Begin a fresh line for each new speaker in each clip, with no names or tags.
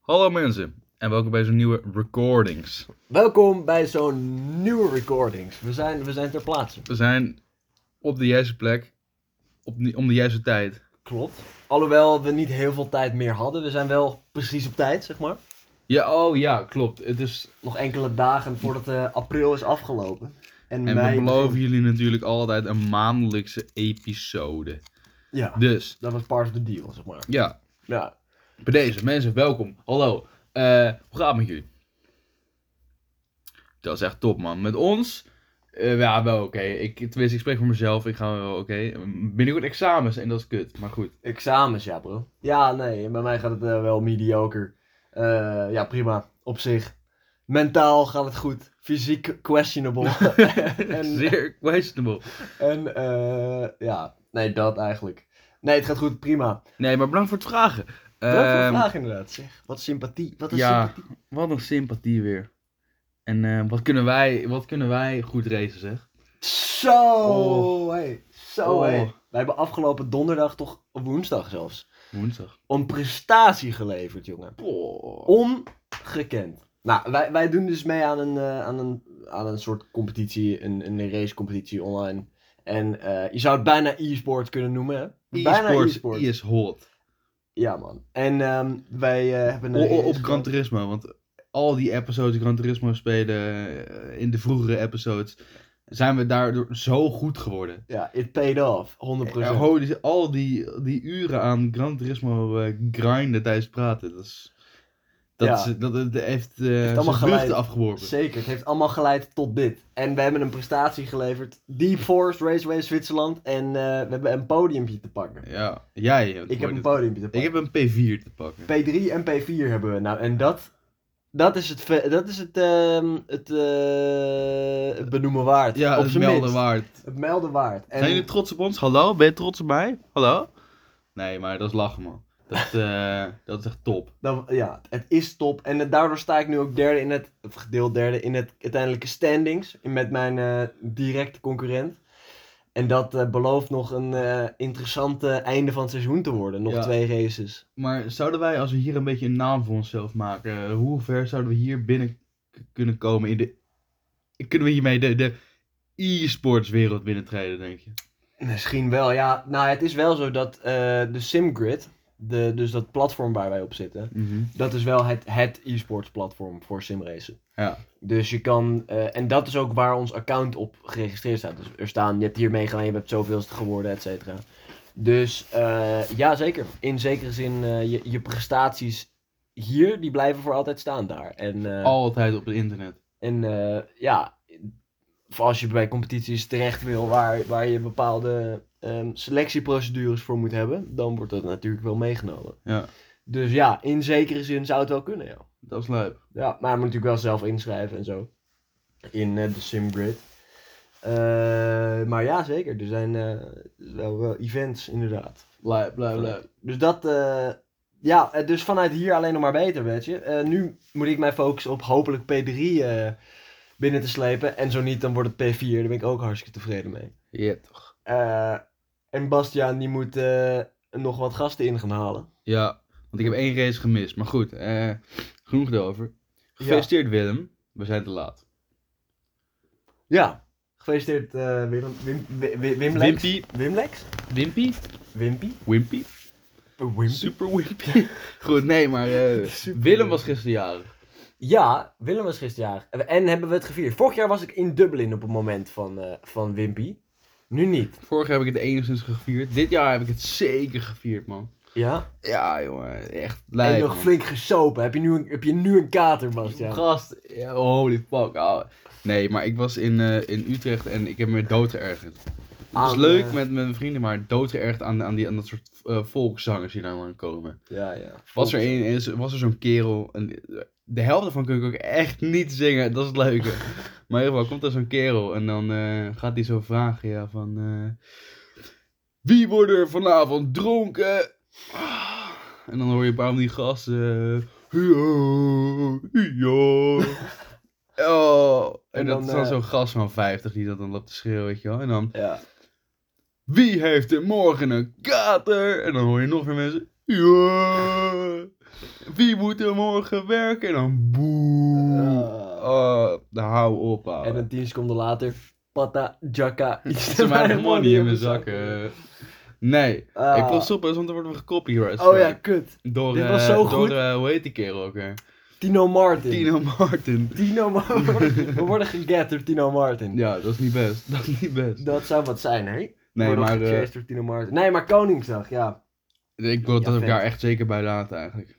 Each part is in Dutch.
Hallo mensen en welkom bij zo'n nieuwe recordings.
Welkom bij zo'n nieuwe recordings. We zijn, we zijn ter plaatse.
We zijn op de juiste plek, op de, om de juiste tijd.
Klopt. Alhoewel we niet heel veel tijd meer hadden. We zijn wel precies op tijd, zeg maar.
Ja, oh ja, klopt. Het is,
Nog enkele dagen voordat eh, april is afgelopen. En,
en
mei
we beloven jullie natuurlijk altijd een maandelijkse episode.
Ja,
Dus,
dat was part of the deal, zeg maar.
ja,
Ja.
bij deze mensen, welkom. Hallo, Eh, hoe gaat het met jullie? Dat is echt top man. Met ons, eh, ja wel oké. Ik, tenminste, ik spreek voor mezelf, ik ga wel oké. Binnenkort examens en dat is kut, maar goed.
Examens, ja bro. Ja, nee, bij mij gaat het eh, wel mediocre. Eh, ja, prima. Op zich. Mentaal gaat het goed. Fysiek questionable. En-
Zeer questionable.
en eh, ja, nee, dat eigenlijk. Nee, het gaat goed, prima.
Nee, maar bedankt voor het vragen.
Bedankt voor de
Ehm,
vraag inderdaad, zeg. Wat sympathie. Wat een
ja.
sympathie.
Wat een sympathie weer. En eh, wat, kunnen wij, wat kunnen wij goed racen, zeg?
Zo,
Oh.
hey. Zo,
Oh.
hey. Wij hebben afgelopen donderdag, toch op woensdag zelfs,
Woensdag.
een prestatie geleverd, jongen. Ongekend. Nou, wij, wij doen dus mee aan een, eh, aan een, aan een soort competitie, een, een racecompetitie online. En eh, je zou het bijna e-sport kunnen noemen, hè? Bijna
E-sports E
e-sport.
is hot.
Ja, man. En ehm, wij eh, hebben
O-
een
o- op
race-
Gran Turismo, want al die episodes Gran Turismo spelen, eh, in de vroegere episodes, zijn we daardoor zo goed geworden.
Ja, it paid off, 100%.
Eh, holy- al die, die uren aan Gran Turismo eh, grinden tijdens praten, dat is... Dat,
Ja.
is, dat, dat heeft, eh
allemaal
zijn
geleid.
vruchten afgeworpen.
Zeker, het heeft allemaal geleid tot dit. En we hebben een prestatie geleverd. Deep Forest Raceway Zwitserland. En eh, we hebben een podiumpje te pakken.
Ja, jij hebt
Ik heb een
dit-
podiumpje te
Ik
pakken.
heb een P4 te pakken.
P3 en P4 hebben we nou. En dat, dat is het, ve- dat is het, ehm, het, eh, het benoemen waard.
Ja,
op
het
zijn
melden
minst.
waard.
Het melden waard. En
Zijn jullie trots op ons? Hallo, ben je trots op mij? Hallo? Nee, maar dat is lachen, man. Dat, eh, dat is echt top.
dan, ja, het is top. En het- daardoor sta ik nu ook derde in het, of gedeeld derde in het uiteindelijke standings. Met mijn eh, directe concurrent. En dat eh, belooft nog een eh, interessante einde van het seizoen te worden. Nog
Ja.
twee races.
Maar zouden wij, als we hier een beetje een naam voor onszelf maken, eh, hoe ver zouden we hier binnen k- kunnen komen in de... Kunnen we hiermee de, de e-sports wereld binnentreden, denk je?
Misschien wel, ja. Nou, het is wel zo dat eh, de SimGrid, de, dus dat platform waar wij op zitten,
Mhm.
dat is wel het, het e-sports platform voor simracen.
Ja.
Dus je kan, eh, en dat is ook waar ons account op geregistreerd staat. Dus er staan, je hebt hier meegedaan, je hebt zoveelste geworden, et cetera. Dus eh, ja, zeker. In zekere zin, eh, je, je prestaties hier, die blijven voor altijd staan daar. En, eh,
Altijd op het internet.
en eh, ja, voor als je bij competities terecht wil waar, waar je bepaalde ehm, selectieprocedures voor moet hebben, dan wordt dat natuurlijk wel meegenomen.
Ja,
Dus ja, in zekere zin zou het wel kunnen, ja.
dat is leuk.
Ja, maar je moet natuurlijk wel zelf inschrijven en zo. In eh, de SimGrid. Eh, maar ja, zeker. Er zijn eh, wel, wel events, inderdaad.
Leuk, leuk, leuk.
Dus dat... eh, ja, eh, dus vanuit hier alleen nog maar beter, weet je. Eh, nu moet ik mij focussen op hopelijk P3 eh, binnen te slepen. En zo niet, dan wordt het P4. Daar ben ik ook hartstikke tevreden mee.
Ja, toch.
Eh, en Bastiaan, die moet eh, nog wat gasten in gaan halen.
Ja, want ik heb één race gemist. Maar goed, eh, genoeg daarover. Gefeliciteerd Willem, we zijn te laat.
Ja. Gefeliciteerd, eh, Willem, Wim, Wim, Wim, Wimlex.
Wimpy,
Wimlex?
Wimpy,
Wimpy?
Wimpy, super Wimpy. Goed, nee, maar eh,
Super
Willem
Wimpy.
was gisteren jarig.
Ja, Willem was gisterjaar. En hebben we het gevierd. Vorig jaar was ik in Dublin op het moment van, eh, van Wimpy. Nu niet.
Vorig jaar heb ik het enigszins gevierd. Dit jaar heb ik het zeker gevierd, man.
Ja?
Ja, jongen, echt
en
blij.
nog flink gesopen. Heb je nu een, heb je nu een kater, Bastiaan?
Gast, ja, holy fuck. ouwe. Nee, maar ik was in, eh, in Utrecht en ik heb me doodgeërgerd. Het was
Aan,
leuk
eh,
met mijn vrienden, maar doodgeërgerd aan, aan, die, aan dat soort eh, volkszangers die daar dan komen.
Ja, ja.
Was er, een, is- was er zo'n kerel, en de helft ervan kun ik ook echt niet zingen, dat is het leuke. Maar in ieder geval komt er zo'n kerel en dan eh, gaat hij zo vragen, ja, van... eh, Wie wordt er vanavond dronken? Ah. En dan hoor je een paar van die gasten... eh, "Hio, hio." Oh, en,
En
dat
dan,
is dan
eh,
zo'n gast van 50 die dat dan loopt te schreeuwen, weet je wel. En dan...
Ja.
Wie heeft er morgen een kater? En dan hoor je nog meer mensen. Ja. Wie moet er morgen werken? En dan boe.
Ah.
Oh, nou, hou op, ouwe.
En een tien seconden later, pata, jaka, iets
Ze maken money in mijn zakken. Nee.
Ah.
Ik pas op, hè, want dan worden we gecopyright.
Oh ja, kut.
Door,
Dit
eh,
was zo
door,
goed.
eh, hoe heet die kerel ook weer?
Tino Martin.
Tino Martin.
Tino Martin. we worden geget door Tino Martin.
Ja, dat is niet best. Dat is niet best.
Dat zou wat zijn, hè?
Nee,
Worden
maar eh,
gechased door Tino Martin. Nee, maar Koningsdag, ja.
ik wil
Ja,
dat
vet.
elkaar echt zeker bij laten eigenlijk.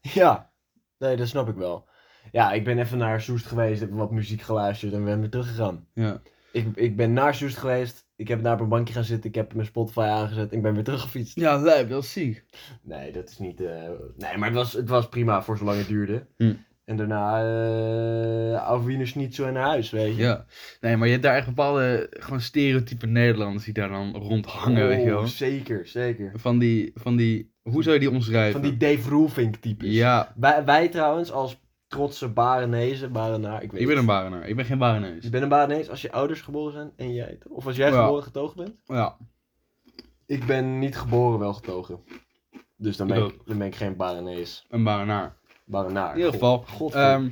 Ja. Nee, dat snap ik wel. Ja, ik ben even naar Soest geweest, heb wat muziek geluisterd en ben weer teruggegaan.
Ja.
Ik, ik ben naar Soest geweest, ik heb daar op een bankje gaan zitten, ik heb mijn Spotify aangezet en ik ben weer teruggefietst.
Ja, lijp, dat is ziek.
Nee, dat is niet... eh, Nee, maar het was, het was prima voor zolang het duurde.
Hm.
En daarna eh af Wiener Schnitzel en naar huis, weet je.
Ja. Nee, maar je hebt daar echt bepaalde gewoon stereotype Nederlanders die daar dan rondhangen, weet je
Oh,
wel.
Zeker, zeker.
Van die, van die, hoe zou je die omschrijven?
Van die Dave Roelvink types.
Ja,
Wij, wij trouwens als trotse Barenezen, Barenaar, ik weet
ik ben een
het.
Barenaar. Ik ben geen Barenees.
Je bent een Barenees als je ouders geboren zijn en jij toch? Of als jij
Ja.
geboren getogen bent?
Ja,
Ik ben niet geboren, wel getogen. Dus dan ben
Ik
ik, dan ben ik geen Barenees.
een Barenaar.
Barenaar.
In ieder geval,
God, godver-
Ehm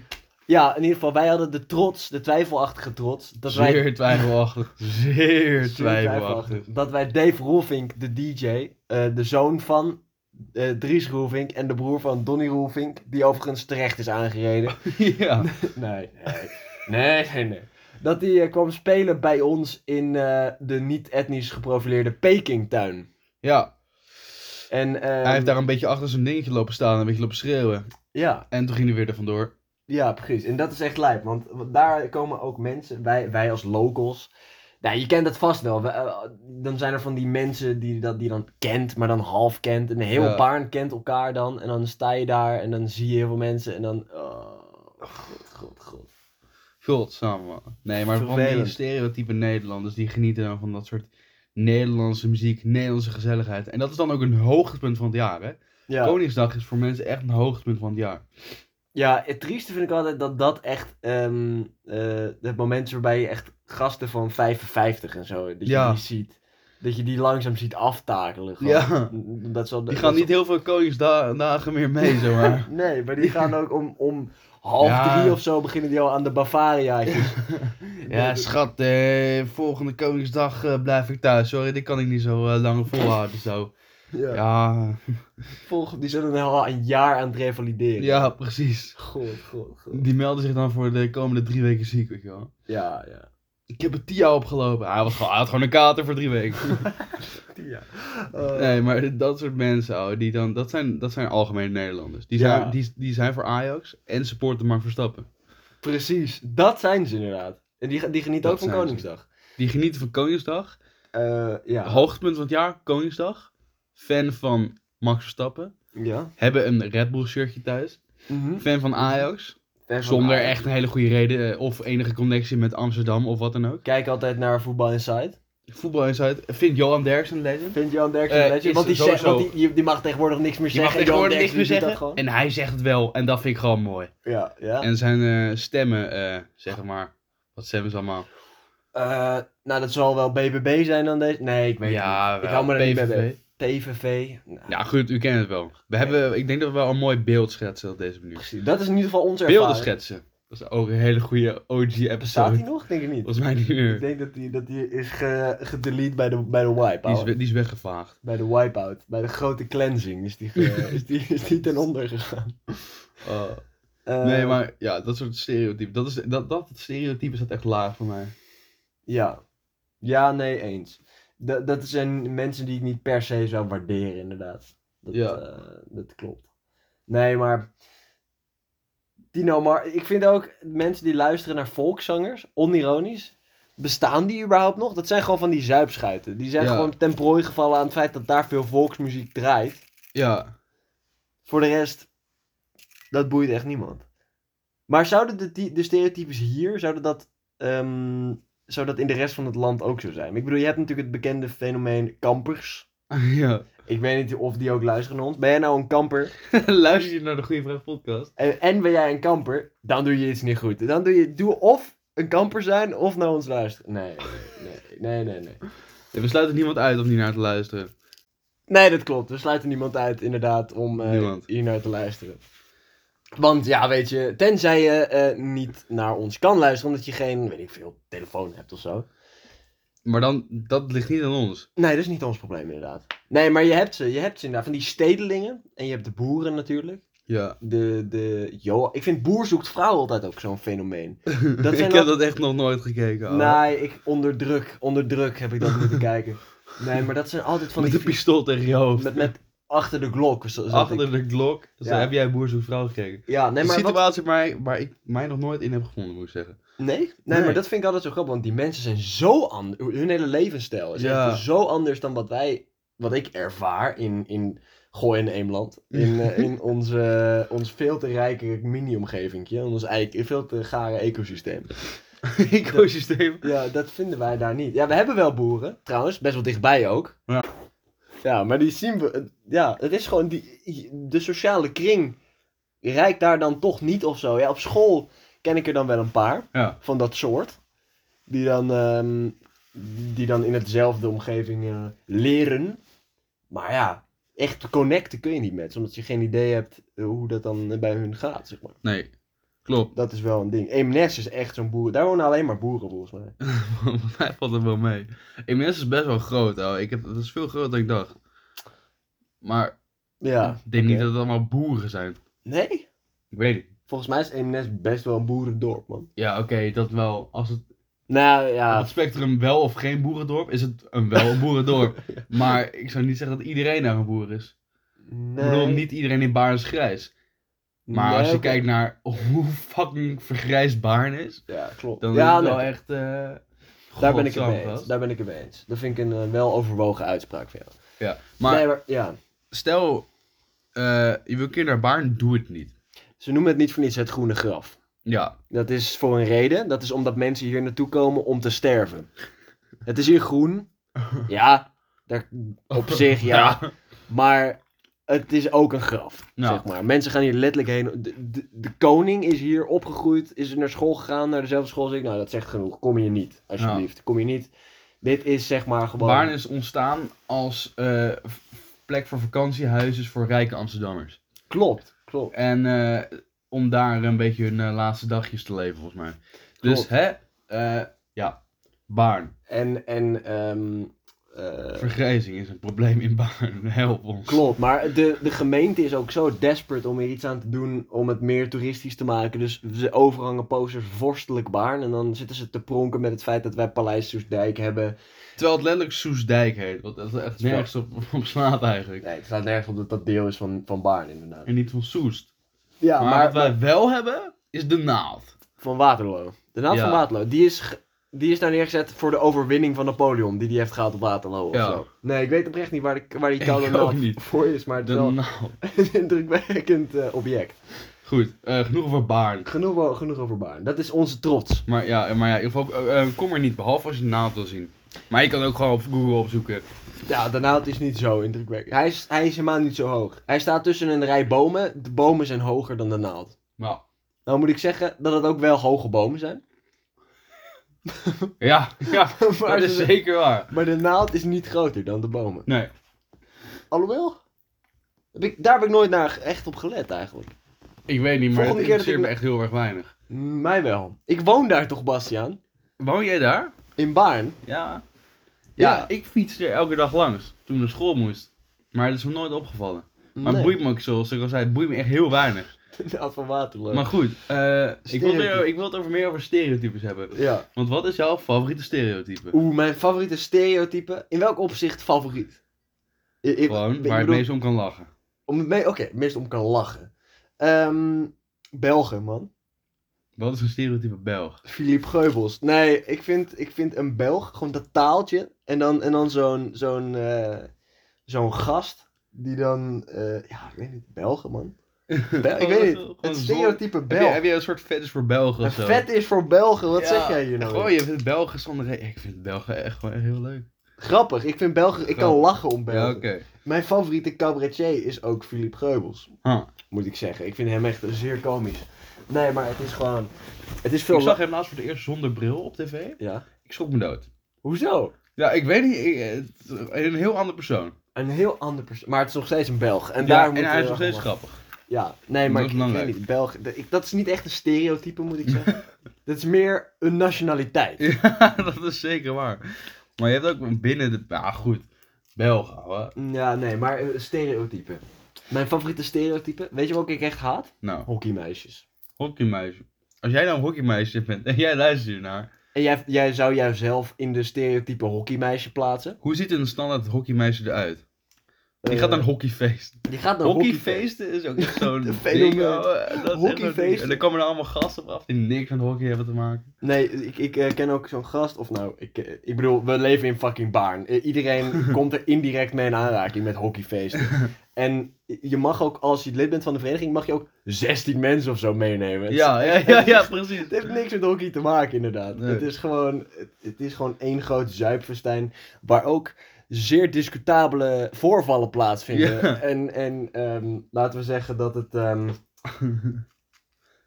ja, in ieder geval, wij hadden de trots, de twijfelachtige trots, dat wij,
zeer twijfelachtig. Zeer
zeer
twijfelachtig.
dat wij Dave Roelvink, de DJ, eh, de zoon van eh, Dries Roelvink en de broer van Donny Roelvink, die overigens terecht is aangereden.
ja.
Nee, nee. Nee, nee, nee. Dat hij eh, kwam spelen bij ons in eh, de niet-etnisch geprofileerde Pekingtuin.
ja,
En, ehm,
hij heeft daar een beetje achter zijn dingetje lopen staan en een beetje lopen schreeuwen.
ja,
En toen ging hij weer er vandoor.
ja, precies. En dat is echt lijp, want daar komen ook mensen, wij, wij als locals. Nou, je kent dat vast wel. We- eh, dan zijn er van die mensen die dat die dan kent, maar dan half kent. En heel
Ja.
Baarn kent elkaar dan. En dan sta je daar en dan zie je heel veel mensen. En dan... Oh, god, god, god.
Godsamme. man. Nee, maar van die
Vervelend.
stereotype Nederlanders die genieten dan van dat soort Nederlandse muziek, Nederlandse gezelligheid. En dat is dan ook een hoogtepunt van het jaar, hè?
Ja.
Koningsdag is voor mensen echt een hoogtepunt van het jaar.
Ja, het trieste vind ik altijd dat dat echt ehm, eh, het moment is waarbij je echt gasten van 55 en zo, dat
Ja.
je die ziet. Dat je die langzaam ziet aftakelen. gewoon.
Ja.
Dat zal,
Die gaan niet heel veel Koningsdagen meer mee, zeg maar.
Nee, maar die gaan ook om, om half
Ja.
drie of zo beginnen die al aan de Bavariaatjes.
Ja, schat, eh, volgende Koningsdag eh, blijf ik thuis. Sorry, dit kan ik niet zo eh, lang volhouden. Zo.
ja.
Ja,
Volg- die zullen er al een jaar aan het revalideren.
ja, precies.
God, god, god.
Die melden zich dan voor de komende drie weken ziek, weet je wel.
Ja, ja.
Ik heb een TIA opgelopen. Hij, was gewoon, hij had gewoon een kater voor drie weken.
ja. Eh,
Nee, maar dat soort mensen, ouwe, die dan, dat, zijn, dat zijn algemene Nederlanders. Die zijn,
Ja.
die, die zijn voor Ajax en supporten maar Verstappen.
Precies, dat zijn ze inderdaad. En die, die genieten
Dat
ook van
zijn ze.
Koningsdag.
Die genieten van Koningsdag.
Eh, ja.
Hoogtepunt van het jaar, Koningsdag. Fan van Max Verstappen.
ja.
Hebben een Red Bull shirtje thuis.
Mhm.
Fan van Ajax.
Fan van
Zonder
Ajax.
echt een hele goede reden eh, of enige connectie met Amsterdam of wat dan ook.
Kijk altijd naar Voetbal Inside.
Voetbal Insight. Vindt Johan Derksen legend?
Vind Johan Derksen
Eh,
een legend?
is
Want, die,
sowieso-
zegt- want die, die mag tegenwoordig niks meer
Je mag
zeggen.
tegenwoordig
Johan
niks meer
Derksen doet
zeggen. En hij zegt het wel. En dat vind ik gewoon mooi.
dat gewoon. Ja, ja.
En zijn eh, stemmen, eh, zeg maar. Wat stemmen ze allemaal?
Eh, nou, dat zal wel BBB zijn dan deze. Nee, ik weet het
ja,
niet. Ik
wel,
hou me er niet bij.
PVV.
bezig. TVV. Nou,
Ja, goed, u kent het wel. We hebben, ik denk dat we wel een mooi beeld schetsen op deze manier.
precies. Dat is in ieder geval onze
Beelden
ervaring.
schetsen. Dat is ook een hele goede
Bestaat die
OG-episode.
nog? Denk ik niet.
Volgens mij niet
Ik
meer.
denk dat die, dat die is ge, gedelete bij de, bij de
Die is,
wipe-out.
we- die is weggevaagd.
Bij de wipe-out. Bij de grote cleansing is die, ge- is die, is die ten onder gegaan.
Oh.
Eh,
nee, maar ja, dat soort stereotypen. Dat, is, dat, dat stereotype staat echt laag voor mij.
Ja. Ja, nee, eens. Dat, dat zijn mensen die ik niet per se zou waarderen, inderdaad. Dat,
Ja.
eh, dat klopt. Nee, maar... Tino, maar ik vind ook mensen die luisteren naar volkszangers, onironisch... Bestaan die überhaupt nog? Dat zijn gewoon van die zuipschuiten. Die zijn
Ja.
gewoon ten prooi gevallen aan het feit dat daar veel volksmuziek draait.
Ja,
Voor de rest, dat boeit echt niemand. Maar zouden de, die- de stereotypes hier, zouden dat, ehm, zou dat in de rest van het land ook zo zijn? Ik bedoel, je hebt natuurlijk het bekende fenomeen kampers.
ja.
Ik weet niet of die ook luisteren naar ons. Ben jij nou een kamper?
Luister je naar de Goede Vraag podcast?
En, en ben jij een kamper? Dan doe je iets niet goed. Dan doe je doe of een kamper zijn of naar ons luisteren. Nee, nee, nee, nee, nee.
Ja, we sluiten niemand uit om niet naar te luisteren.
Nee, dat klopt. We sluiten niemand uit, inderdaad, om eh
Niemand.
hier naar te luisteren. Want ja, weet je, tenzij je eh, niet naar ons kan luisteren, omdat je geen, weet ik veel, telefoon hebt of zo.
Maar dan, dat ligt niet aan ons.
Nee, dat is niet ons probleem, inderdaad. Nee, maar je hebt ze, je hebt ze inderdaad. Van die stedelingen en je hebt de boeren natuurlijk.
Ja.
De, de, jo ik vind boer zoekt vrouw altijd ook zo'n fenomeen. zijn
ik heb
wel-
dat echt nog nooit gekeken. ouwe.
Nee, ik, onder druk, onder druk heb ik dat moeten kijken. Nee, maar dat zijn altijd van
Met
die...
een pistool tegen je hoofd.
met, met achter de glok. zo- zat ik.
Achter de klok. Dus
Ja.
heb jij boer zo'n vrouw gekeken.
Ja, nee,
Een
maar wat-
situatie waar, waar ik mij nog nooit in heb gevonden, moet ik zeggen.
Nee? nee?
Nee.
maar dat vind ik altijd zo grappig, want die mensen zijn zo anders. Hun hele levensstijl is
Ja.
echt zo anders dan wat wij, wat ik ervaar in, in Gooi en Eemland. In, eh, in onze, ons veel te rijke mini-omgeving, in ons eigen, veel te gare ecosysteem.
Ecosysteem.
Ja, dat vinden wij daar niet. Ja, we hebben wel boeren, trouwens, best wel dichtbij ook.
Ja.
Ja, maar die zien we, ja, het is gewoon, die, de sociale kring rijkt daar dan toch niet of zo. Ja, op school ken ik er dan wel een paar
Ja.
van dat soort. Die dan, ehm, die dan in hetzelfde omgeving eh, leren. Maar ja, echt connecten kun je niet met ze, omdat je geen idee hebt eh, hoe dat dan eh, bij hun gaat, zeg maar.
Nee. Klopt.
Dat is wel een ding. Eemnes is echt zo'n boer. Daar wonen alleen maar boeren, volgens mij.
Want mij valt het wel mee. Eemnes is best wel groot, ouwe. Ik heb, dat is veel groter dan ik dacht. Maar
Ja.
ik denk niet
oké.
dat het allemaal boeren zijn.
Nee?
Ik weet het niet.
Volgens mij is Eemnes best wel een boerendorp, man.
Ja, oké, dat wel. Als het,
Nou
op
ja,
het spectrum wel of geen boerendorp, is het een wel een boerendorp. Maar ik zou niet zeggen dat iedereen daar een boer is.
nee.
Ik bedoel, niet iedereen in Baarn is grijs. Maar
Nee,
als je
oké.
kijkt naar hoe fucking vergrijsd Baarn is,
Ja, klopt.
dan
ja,
is het
nee,
wel echt... eh,
daar ben ik het
godsamme
mee eens.
gast.
Daar ben ik het mee eens. Dat vind ik een eh, wel overwogen uitspraak van jou.
Ja. Maar
Nee, maar ja.
stel, eh, je wil een keer naar Baarn, doe het niet.
Ze noemen het niet voor niets het groene graf.
Ja,
Dat is voor een reden. Dat is omdat mensen hier naartoe komen om te sterven. Het is hier groen. Ja, daar, op zich ja. Maar het is ook een graf,
Ja.
zeg maar. Mensen gaan hier letterlijk heen. De, de, de koning is hier opgegroeid, is naar school gegaan, naar dezelfde school als ik. Nou, dat zegt genoeg. Kom je niet, alsjeblieft. Kom je niet. Dit is zeg maar gewoon...
Baarn is ontstaan als eh, v- plek voor vakantiehuizen voor rijke Amsterdammers.
Klopt, klopt.
En eh, om daar een beetje hun eh, laatste dagjes te leven, volgens mij. Dus
Klopt.
hè, eh, ja, Baarn.
En, en ehm, eh,
Vergrijzing is een probleem in Baarn. Help ons.
Klopt, maar de, de gemeente is ook zo desperate om hier iets aan te doen om het meer toeristisch te maken. Dus ze overhangen posters vorstelijk Baarn en dan zitten ze te pronken met het feit dat wij Paleis Soestdijk hebben.
Terwijl het letterlijk Soesdijk heet. Want dat is echt
Ja.
nergens op, op slaat eigenlijk.
Nee, het staat nergens op dat dat deel is van, van Baarn inderdaad.
En niet van Soest.
Ja,
maar,
maar,
wat wij wel hebben, is de naald.
van Waterloo. De naam
Ja.
van Waterloo, die is, ge- die is daar neergezet voor de overwinning van Napoleon die die heeft gehaald op Waterloo of
Ja.
zo. Nee, ik weet oprecht niet waar, de, waar die
Ik
koude
ook
naald
niet.
voor is, maar het
De
is wel
naald.
een indrukwekkend eh, object.
Goed, eh, genoeg over Baarn.
Genoeg, o- genoeg over Baarn, dat is onze trots.
Maar ja, maar ja, in ieder geval, eh, eh, kom er niet, behalve als je de naald wil zien. Maar je kan ook gewoon op Google opzoeken.
Ja, de naald is niet zo indrukwekkend. Hij is, hij is helemaal niet zo hoog. Hij staat tussen een rij bomen. De bomen zijn hoger dan de naald.
Nou,
Nou moet ik zeggen dat het ook wel hoge bomen zijn.
ja, ja
maar, dus
dat is
de,
zeker waar.
maar de naald is niet groter dan de bomen.
Nee,
Alhoewel, heb ik, daar heb ik nooit naar echt op gelet eigenlijk.
ik weet niet, maar het
Volgende keer dat
interesseert
ik-
me echt heel erg weinig.
Mij wel. Ik woon daar toch, Bastiaan?
Woon jij daar?
In Baarn.
Ja. ja.
Ja.
ik fiets er elke dag langs, toen ik naar school moest. Maar dat is me nooit opgevallen. Maar
Nee,
het boeit me ook, zoals ik al zei, het boeit me echt heel weinig.
De naald van Waterloo.
Maar goed, eh, ik, wil
Stereotypen.
er, ik wil het over meer over stereotypes hebben.
Ja.
Want wat is jouw favoriete stereotype?
Oeh, mijn favoriete stereotype. In welk opzicht favoriet? Ik- ik-
Gewoon,
ik
waar het
bedoel-
meest om kan lachen.
Om het mee, oké, het meest om kan lachen. Ehm, Belgen, man.
Wat is een stereotype Belg?
Philippe Geubels. Nee, ik vind, ik vind een Belg, gewoon dat taaltje. En dan, en dan zo'n zo'n eh, zo'n gast die dan, eh, ja, ik weet niet, Belgen, man. Bel- ik weet niet,
Gewoon
het
zon-
stereotype
Heb je, heb
Belg.
je een soort fetish voor Belgen
Een
of zo?
vet is voor Belgen, wat
Ja,
zeg jij hier nou?
Goh,
weer?
je vindt Belgen zonder... re- Ik vind Belgen echt gewoon heel leuk.
Grappig, ik vind Belgen, ik kan
Grappig.
lachen om Belgen.
Ja, oké.
Mijn favoriete cabaretier is ook Philippe Geubels,
Huh.
moet ik zeggen. Ik vind hem echt zeer komisch. Nee, maar het is gewoon, het is veel...
Ik zag
la-
hem laatst voor het eerst zonder bril op tv.
Ja.
Ik schrok me dood.
Hoezo?
Ja, ik weet niet. ik- het- eh, een heel andere persoon.
Een heel ander persoon. Maar het is nog steeds een Belg. En,
En,
daar
ja,
moet
en hij
je
is nog
heel
steeds
erg om
grappig.
lachen. Ja, nee, maar
Dat is
ik- ik weet
belangrijk.
niet. Belg, de- ik- dat is niet echt een stereotype, moet ik zeggen. dat is meer een nationaliteit.
Ja, dat is zeker waar. Maar je hebt ook binnen de... Ja, goed. Belgen, hoor.
Ja, nee, maar eh, stereotypen. Mijn favoriete stereotype, weet je wat ik echt haat?
Nou,
Hockeymeisjes.
hockeymeisje. Als jij nou een hockeymeisje bent en jij luistert hiernaar...
En jij, jij zou jouzelf in de stereotype hockeymeisje plaatsen?
Hoe ziet een standaard hockeymeisje eruit? Die
Eh,
gaat naar een hockeyfeest.
Die gaat naar hockeyfeest.
Hockeyfeesten is ook echt zo'n
Een
ding,
fenomeen.
ouwe. Dat is echt zo'n ding.
Hockeyfeesten.
En dan komen er allemaal gasten op af die niks met hockey hebben te maken.
Nee, ik, ik eh, ken ook zo'n gast, of nou, ik, eh, ik bedoel, we leven in fucking Baarn. Eh, iedereen komt er indirect mee in aanraking met hockeyfeesten. En je mag ook, als je lid bent van de vereniging, mag je ook 16 mensen of zo meenemen. Het-
Ja, ja, ja, ja, precies.
Het heeft niks met hockey te maken, inderdaad.
Nee.
Het, is gewoon, het, het is gewoon één groot zuipfestijn waar ook zeer discutabele voorvallen plaatsvinden.
Ja.
En, en ehm, laten we zeggen dat het... ehm,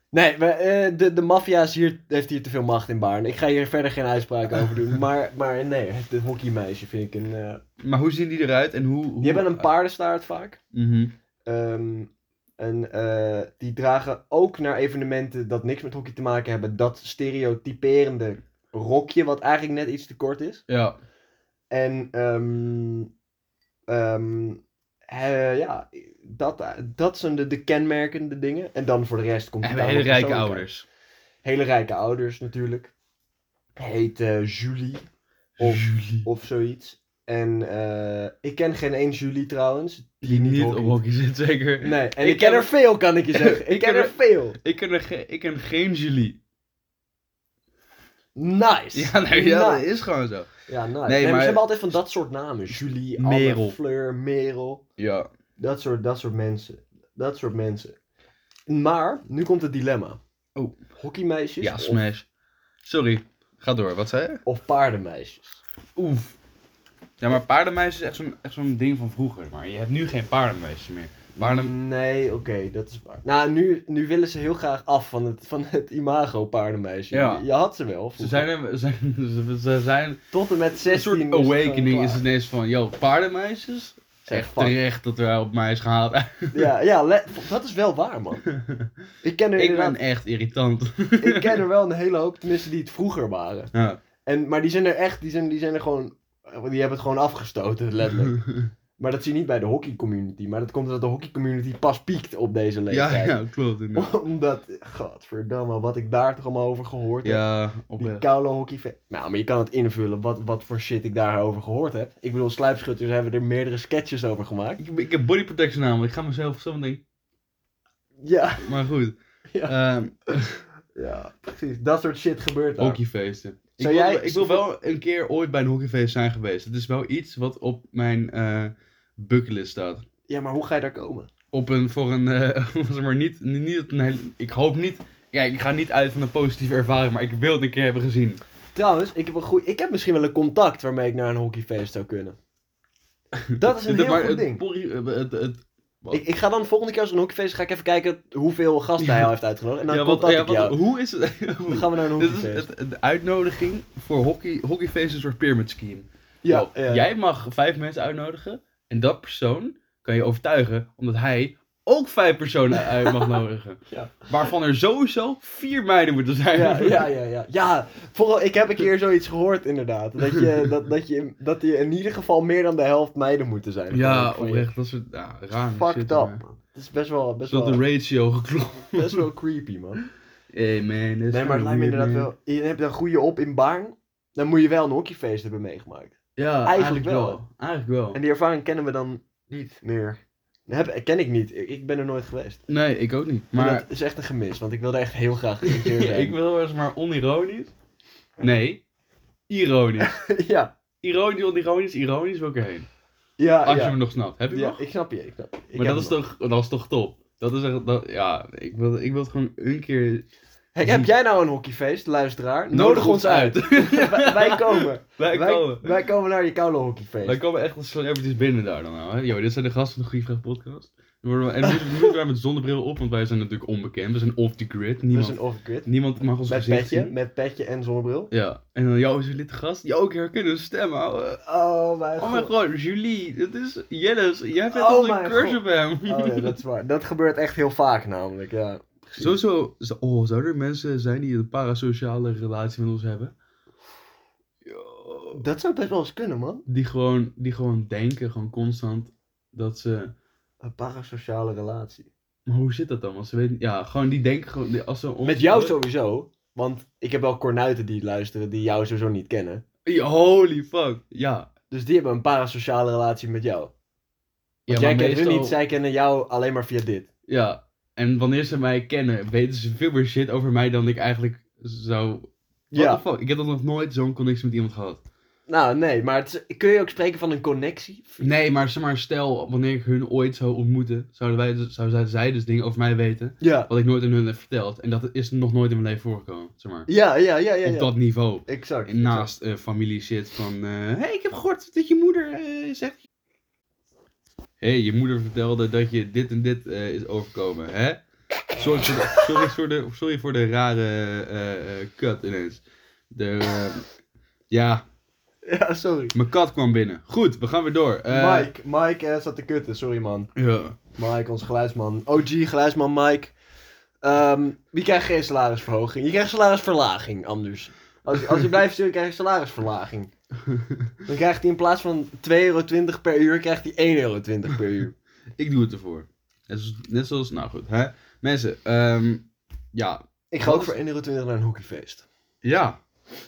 Nee, we- eh, de, de maffia is hier, heeft hier te veel macht in Baarn. Ik ga hier verder geen uitspraak over doen. Maar, maar nee, dit hockeymeisje vind ik een... eh
Maar hoe zien die eruit en hoe... hoe...
Die hebben een paardenstaart vaak.
Mhm.
Ehm, en eh, die dragen ook naar evenementen dat niks met hockey te maken hebben. Dat stereotyperende rokje, wat eigenlijk net iets te kort is.
Ja.
En ehm, ehm, eh, ja, dat, dat zijn de, de kenmerkende dingen. En dan voor de rest komt
En
het
hebben
daar
hele
nog
rijke
persoonlijk uit.
ouders.
Hele rijke ouders natuurlijk. Heet eh, Julie Of-
Julie.
of zoiets. En eh, ik ken geen één Julie trouwens.
Die niet op
hockeyt.
hockey zit, zeker.
Nee, en
Ik ken
ik, ken
er-
er veel, kan ik je zeggen. Ik ken er veel.
Ik ken, er ge- ik ken geen Julie.
Nice.
Ja, nou, ja dat
Nice.
is gewoon zo.
Ja, nice. Nee,
maar-
maar... ze hebben altijd van dat soort namen. Julie, Anne,
Merel.
Fleur, Merel.
Ja.
Dat soort, dat soort mensen. Dat soort mensen. Maar, nu komt het dilemma.
Oh.
Hockeymeisjes
Ja,
of,
smash. Sorry. Ga door, wat zei je?
of paardenmeisjes?
Oef. Ja, maar paardenmeisjes is echt zo'n, echt zo'n ding van vroeger. Maar je hebt nu geen paardenmeisjes meer. Paarden...
Nee, oké, dat is waar. Nou, nu, nu willen ze heel graag af van het, van het imago paardenmeisje.
Ja.
Je had ze wel.
Ze
vroeger.
zijn, er- ze zijn, ze- ze zijn
Tot en met 16
een soort
is het gewoon
awakening is
klaar.
het ineens van, yo, paardenmeisjes? Het is
Zeg,
echt
fuck.
terecht dat er op mij is gehaald.
Ja, ja le- dat is wel waar, man. Ik ken er
ik
inderdaad-
ben echt irritant.
ik ken er wel een hele hoop, tenminste, die het vroeger waren.
Ja.
En, maar die zijn er echt, die zijn, die zijn er gewoon, die hebben het gewoon afgestoten, letterlijk. Maar dat zie je niet bij de hockeycommunity. Maar dat komt omdat de hockeycommunity pas piekt op deze
ja,
leeftijd.
ja, klopt inderdaad.
Omdat, godverdamme, wat ik daar toch allemaal over gehoord heb.
Ja,
Die
oprecht.
koude hockey... Nou, maar je kan het invullen wat, wat voor shit ik daarover gehoord heb. Ik bedoel, sluipschutters hebben er meerdere sketches over gemaakt.
Ik, ik heb body protection aan, want ik ga mezelf zo meteen...
Ja,
Maar goed.
Ja.
Ehm,
ja, precies. Dat soort shit gebeurt daar.
Hockeyfeesten. Ik
Zou
wil,
jij-
ik wil wel een keer ooit bij een hockeyfeest zijn geweest. Het is wel iets wat op mijn eh bucketlist staat.
Ja, maar hoe ga je daar komen?
Op een, voor een, eh, zeg maar niet, niet, niet een hele- ik hoop niet, kijk ik ga niet uit van een positieve ervaring, maar ik wil het een keer hebben gezien.
Trouwens, ik heb, een goeie, ik heb misschien wel een contact waarmee ik naar een hockeyfeest zou kunnen. Dat is een heel
Maar
goed
het
ding.
porri- eh, het- het-
Ik, ik ga dan volgende keer als er een hockeyfeest is, ga ik even kijken hoeveel gasten hij
Ja.
al heeft uitgenodigd. En dan
ja,
contact
wat, ja,
ik
wat-
jou.
hoe is het?
Dan gaan we naar een
Dit is
hockeyfeest.
het, de uitnodiging voor hockey, hockeyfeesten is een soort pyramid scheme.
ja,
Yo,
ja.
Jij mag vijf mensen uitnodigen en dat persoon kan je overtuigen omdat hij ook vijf personen uit mag nodigen.
Ja.
Waarvan er sowieso vier meiden moeten zijn.
Ja, ja, ja, ja. Ja, vooral, ik heb een keer zoiets gehoord inderdaad. Dat je, dat, dat je, dat je in ieder geval meer dan de helft meiden moeten zijn.
Ja,
Van je-
oprecht, dat is het- ja, raar.
Fucked up, man. Het is best wel,
Is
best
dat de
wel,
ratio geklopt?
best wel creepy, man.
Hey man, dat is
Nee, maar het lijkt me inderdaad wel. Je hebt een goede op in Baarn. Dan moet je wel een hockeyfeest hebben meegemaakt.
Ja, eigenlijk,
Eigenlijk
wel.
wel.
Eigenlijk wel.
En die ervaring kennen we dan niet meer. Heb, ken ik niet. Ik, ik ben er nooit geweest.
Nee, ik ook niet.
Maar
Maar
dat is echt een gemis, want ik wilde echt heel graag een keer zijn.
ik wil wel eens maar onironisch. Nee, ironisch.
ja,
Ironisch, onironisch, ironisch wil ik erheen.
ja,
Als je
Ah, ja.
me nog snapt. Heb je
ja,
nog?
ik snap je. Ik snap je. Ik
maar
heb
dat is,
hem nog.
toch, dat is toch top? Dat is echt, dat, ja, ik wil, ik wil het gewoon een keer...
Hey, heb jij nou een hockeyfeest, luisteraar? wij, wij komen.
wij,
wij,
komen.
wij komen naar je koude hockeyfeest.
Wij komen echt als celebrities binnen daar dan nou. Hè? Yo, dit zijn de gasten van de Goeie Vraag podcast. Worden we- en nu moeten wij met zonnebril op, want wij zijn natuurlijk onbekend. We zijn off the grid. Niemand,
Dus een off-grid.
niemand mag ons
Met
gezicht
petje,
zien.
met petje en zonnebril.
Ja. En dan, jou is een lid gast. Jou, ik herken een stem, ouwe.
Oh mijn
Oh mijn
god.
god, Julie, dat is Jennis. Jij bent
Oh
al een
mijn
curse
god.
bij hem.
Oh ja, dat is waar. Dat gebeurt echt heel vaak namelijk, ja.
Sowieso, zo- oh, zouden er mensen zijn die een parasociale relatie met ons hebben? Yo.
Dat zou best wel eens kunnen, man.
Die gewoon, die gewoon denken, gewoon constant, dat ze...
Een parasociale relatie.
Maar hoe zit dat dan? Want ze weten, ja, gewoon die denken gewoon, die- als ze ons-
Met jou sowieso. Want ik heb wel kornuiten die luisteren die jou sowieso niet kennen.
Ja, Holy fuck, ja.
Dus die hebben een parasociale relatie met jou.
ja
Want jij
maar
kent hun
meestal-
niet, zij kennen jou alleen maar via dit.
Ja, en wanneer ze mij kennen, weten ze veel meer shit over mij dan ik eigenlijk zou... What
Ja.
the fuck, ik heb dan nog nooit zo'n connectie met iemand gehad.
Nou, nee, maar het is- kun je ook spreken van een connectie?
Nee, maar, zeg maar stel, wanneer ik hun ooit zou ontmoeten, zouden, wij, dus- zouden zij dus dingen over mij weten,
Ja.
wat ik nooit aan hun heb verteld. En dat is nog nooit in mijn leven voorgekomen, zeg maar.
Ja, ja, ja, ja.
Op
ja.
dat niveau.
Exact. exact.
Naast eh, familie shit van, hé, hey, ik heb gehoord dat je moeder eh, zegt... Hé, hey, je moeder vertelde dat je dit en dit eh, is overkomen, hè? Sorry voor de, sorry voor de, sorry voor de rare eh, eh, cut ineens. De, eh, ja,
Ja, sorry.
mijn kat kwam binnen. Goed, we gaan weer door. Eh,
Mike, Mike eh, zat te kutten, sorry man.
Ja.
Mike, onze geluidsman. OG, geluidsman Mike. Ehm wie krijgt geen salarisverhoging? Je krijgt salarisverlaging, anders. Als, als je blijft sturen, krijg je salarisverlaging. Dan krijgt hij in plaats van 2,20 euro per uur, krijgt hij 1,20 euro per uur.
Ik doe het ervoor. Net zoals, net zoals- nou goed, hè? Mensen, ehm, ja.
Ik ga ook voor 1,20 euro naar een hockeyfeest.
Ja.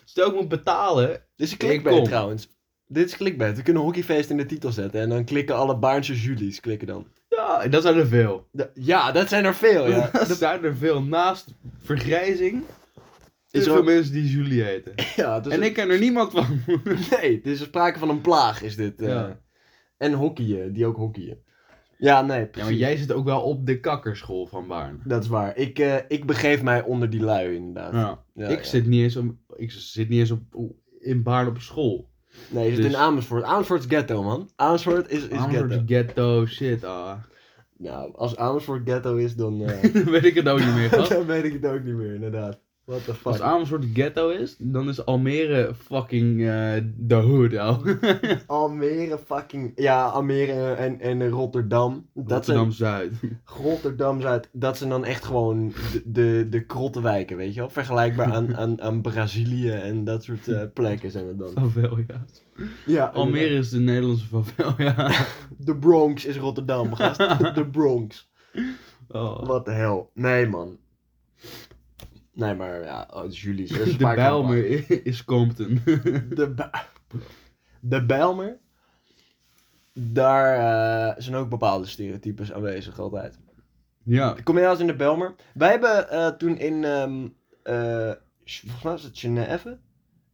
Stel ik moet betalen.
Dit is
Ik
clickbait
kom.
trouwens. Dit is clickbait. We kunnen hockeyfeest in de titel zetten en dan klikken alle Baarnse Julies klikken dan.
Ja, en dat zijn er veel.
Da- Ja, dat zijn er veel, ja.
Dat zijn er veel. Naast vergrijzing. Is
Is
er
er
veel
ook-
mensen die Julie heten.
ja dus
en ik ken er niemand van.
Nee, het is sprake van een plaag, is dit. eh.
Ja.
En hockeyen, die ook hockeyen. Ja, nee,
ja,
precies.
maar jij zit ook wel op de kakkerschool van Baarn.
Dat is waar. Ik, eh, ik begeef mij onder die lui, inderdaad.
Ja.
Ja,
ik,
ja.
Zit niet eens om, ik zit niet eens op, in Baarn op school.
Nee, je zit
dus-
in Amersfoort. Amersfoort is ghetto, man. Amersfoort is, is
Amersfoort
ghetto.
is ghetto, shit, ah.
Nou, als Amersfoort ghetto is, dan, eh,
Dan weet ik het ook niet meer, gast.
dan weet ik het ook niet meer, inderdaad. What the fuck.
Als Amersfoort ghetto is, dan is Almere fucking eh the hood, ouwe.
Almere fucking... Ja, Almere en, en Rotterdam. Dat
Rotterdam Zuid.
zijn Rotterdam-Zuid. Dat zijn dan echt gewoon de, de, de krottenwijken, weet je wel. Vergelijkbaar aan, aan, aan Brazilië en dat soort eh, plekken zijn het dan.
Favel, ja.
Ja,
Almere is de Nederlandse favel, ja.
De Bronx is Rotterdam, gast. De Bronx.
Oh.
Wat de hel. Nee, man. Nee, maar ja, oh, het is jullie.
De Bijlmer i- is Compton.
De, Bij- de Bijlmer. Daar eh, zijn ook bepaalde stereotypes aanwezig altijd.
ja.
Kom je wel eens in de Bijlmer? Wij hebben eh, toen in, ehm, eh, volgens mij was het Genève,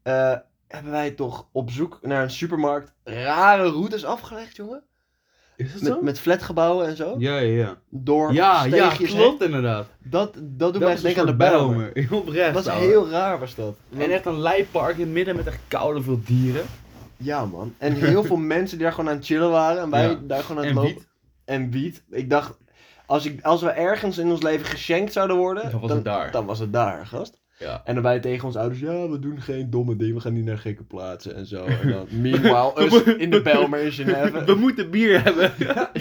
eh, hebben wij toch op zoek naar een supermarkt rare routes afgelegd, jongen?
Is dat
Met, met flatgebouwen en zo.
Ja, ja, ja.
Door
Ja, ja,
steegjes heen.
klopt inderdaad.
Dat, dat doet
Dat
mij
is
echt
een
denken aan de
soort
Bijlmer.
Bijlmer. Oprecht,
Dat was
ouwe.
heel raar was dat.
En echt een lijpark in het midden met echt koude veel dieren.
Ja man. En heel veel mensen die daar gewoon aan het chillen waren. En wij
Ja.
daar gewoon aan het
En
lopen.
wiet.
En wiet. Ik dacht, als, ik, als we ergens in ons leven geschenkt zouden worden.
Dan was het daar.
Dan was het daar, gast.
Ja.
En dan wij tegen onze ouders, ja we doen geen domme dingen. We gaan niet naar gekke plaatsen en zo. En dan, meanwhile, us in de Bijlmer in
We
Genève.
moeten bier hebben.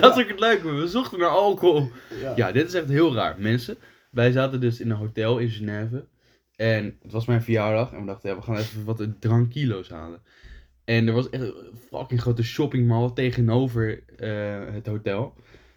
dat is ook het leuke, we zochten naar alcohol.
Ja.
Ja, dit is echt heel raar. Mensen, wij zaten dus in een hotel in Genève. En het was mijn verjaardag. En we dachten, ja, we gaan even wat drankkilo's halen. En er was echt een fucking grote shoppingmall tegenover eh, het hotel.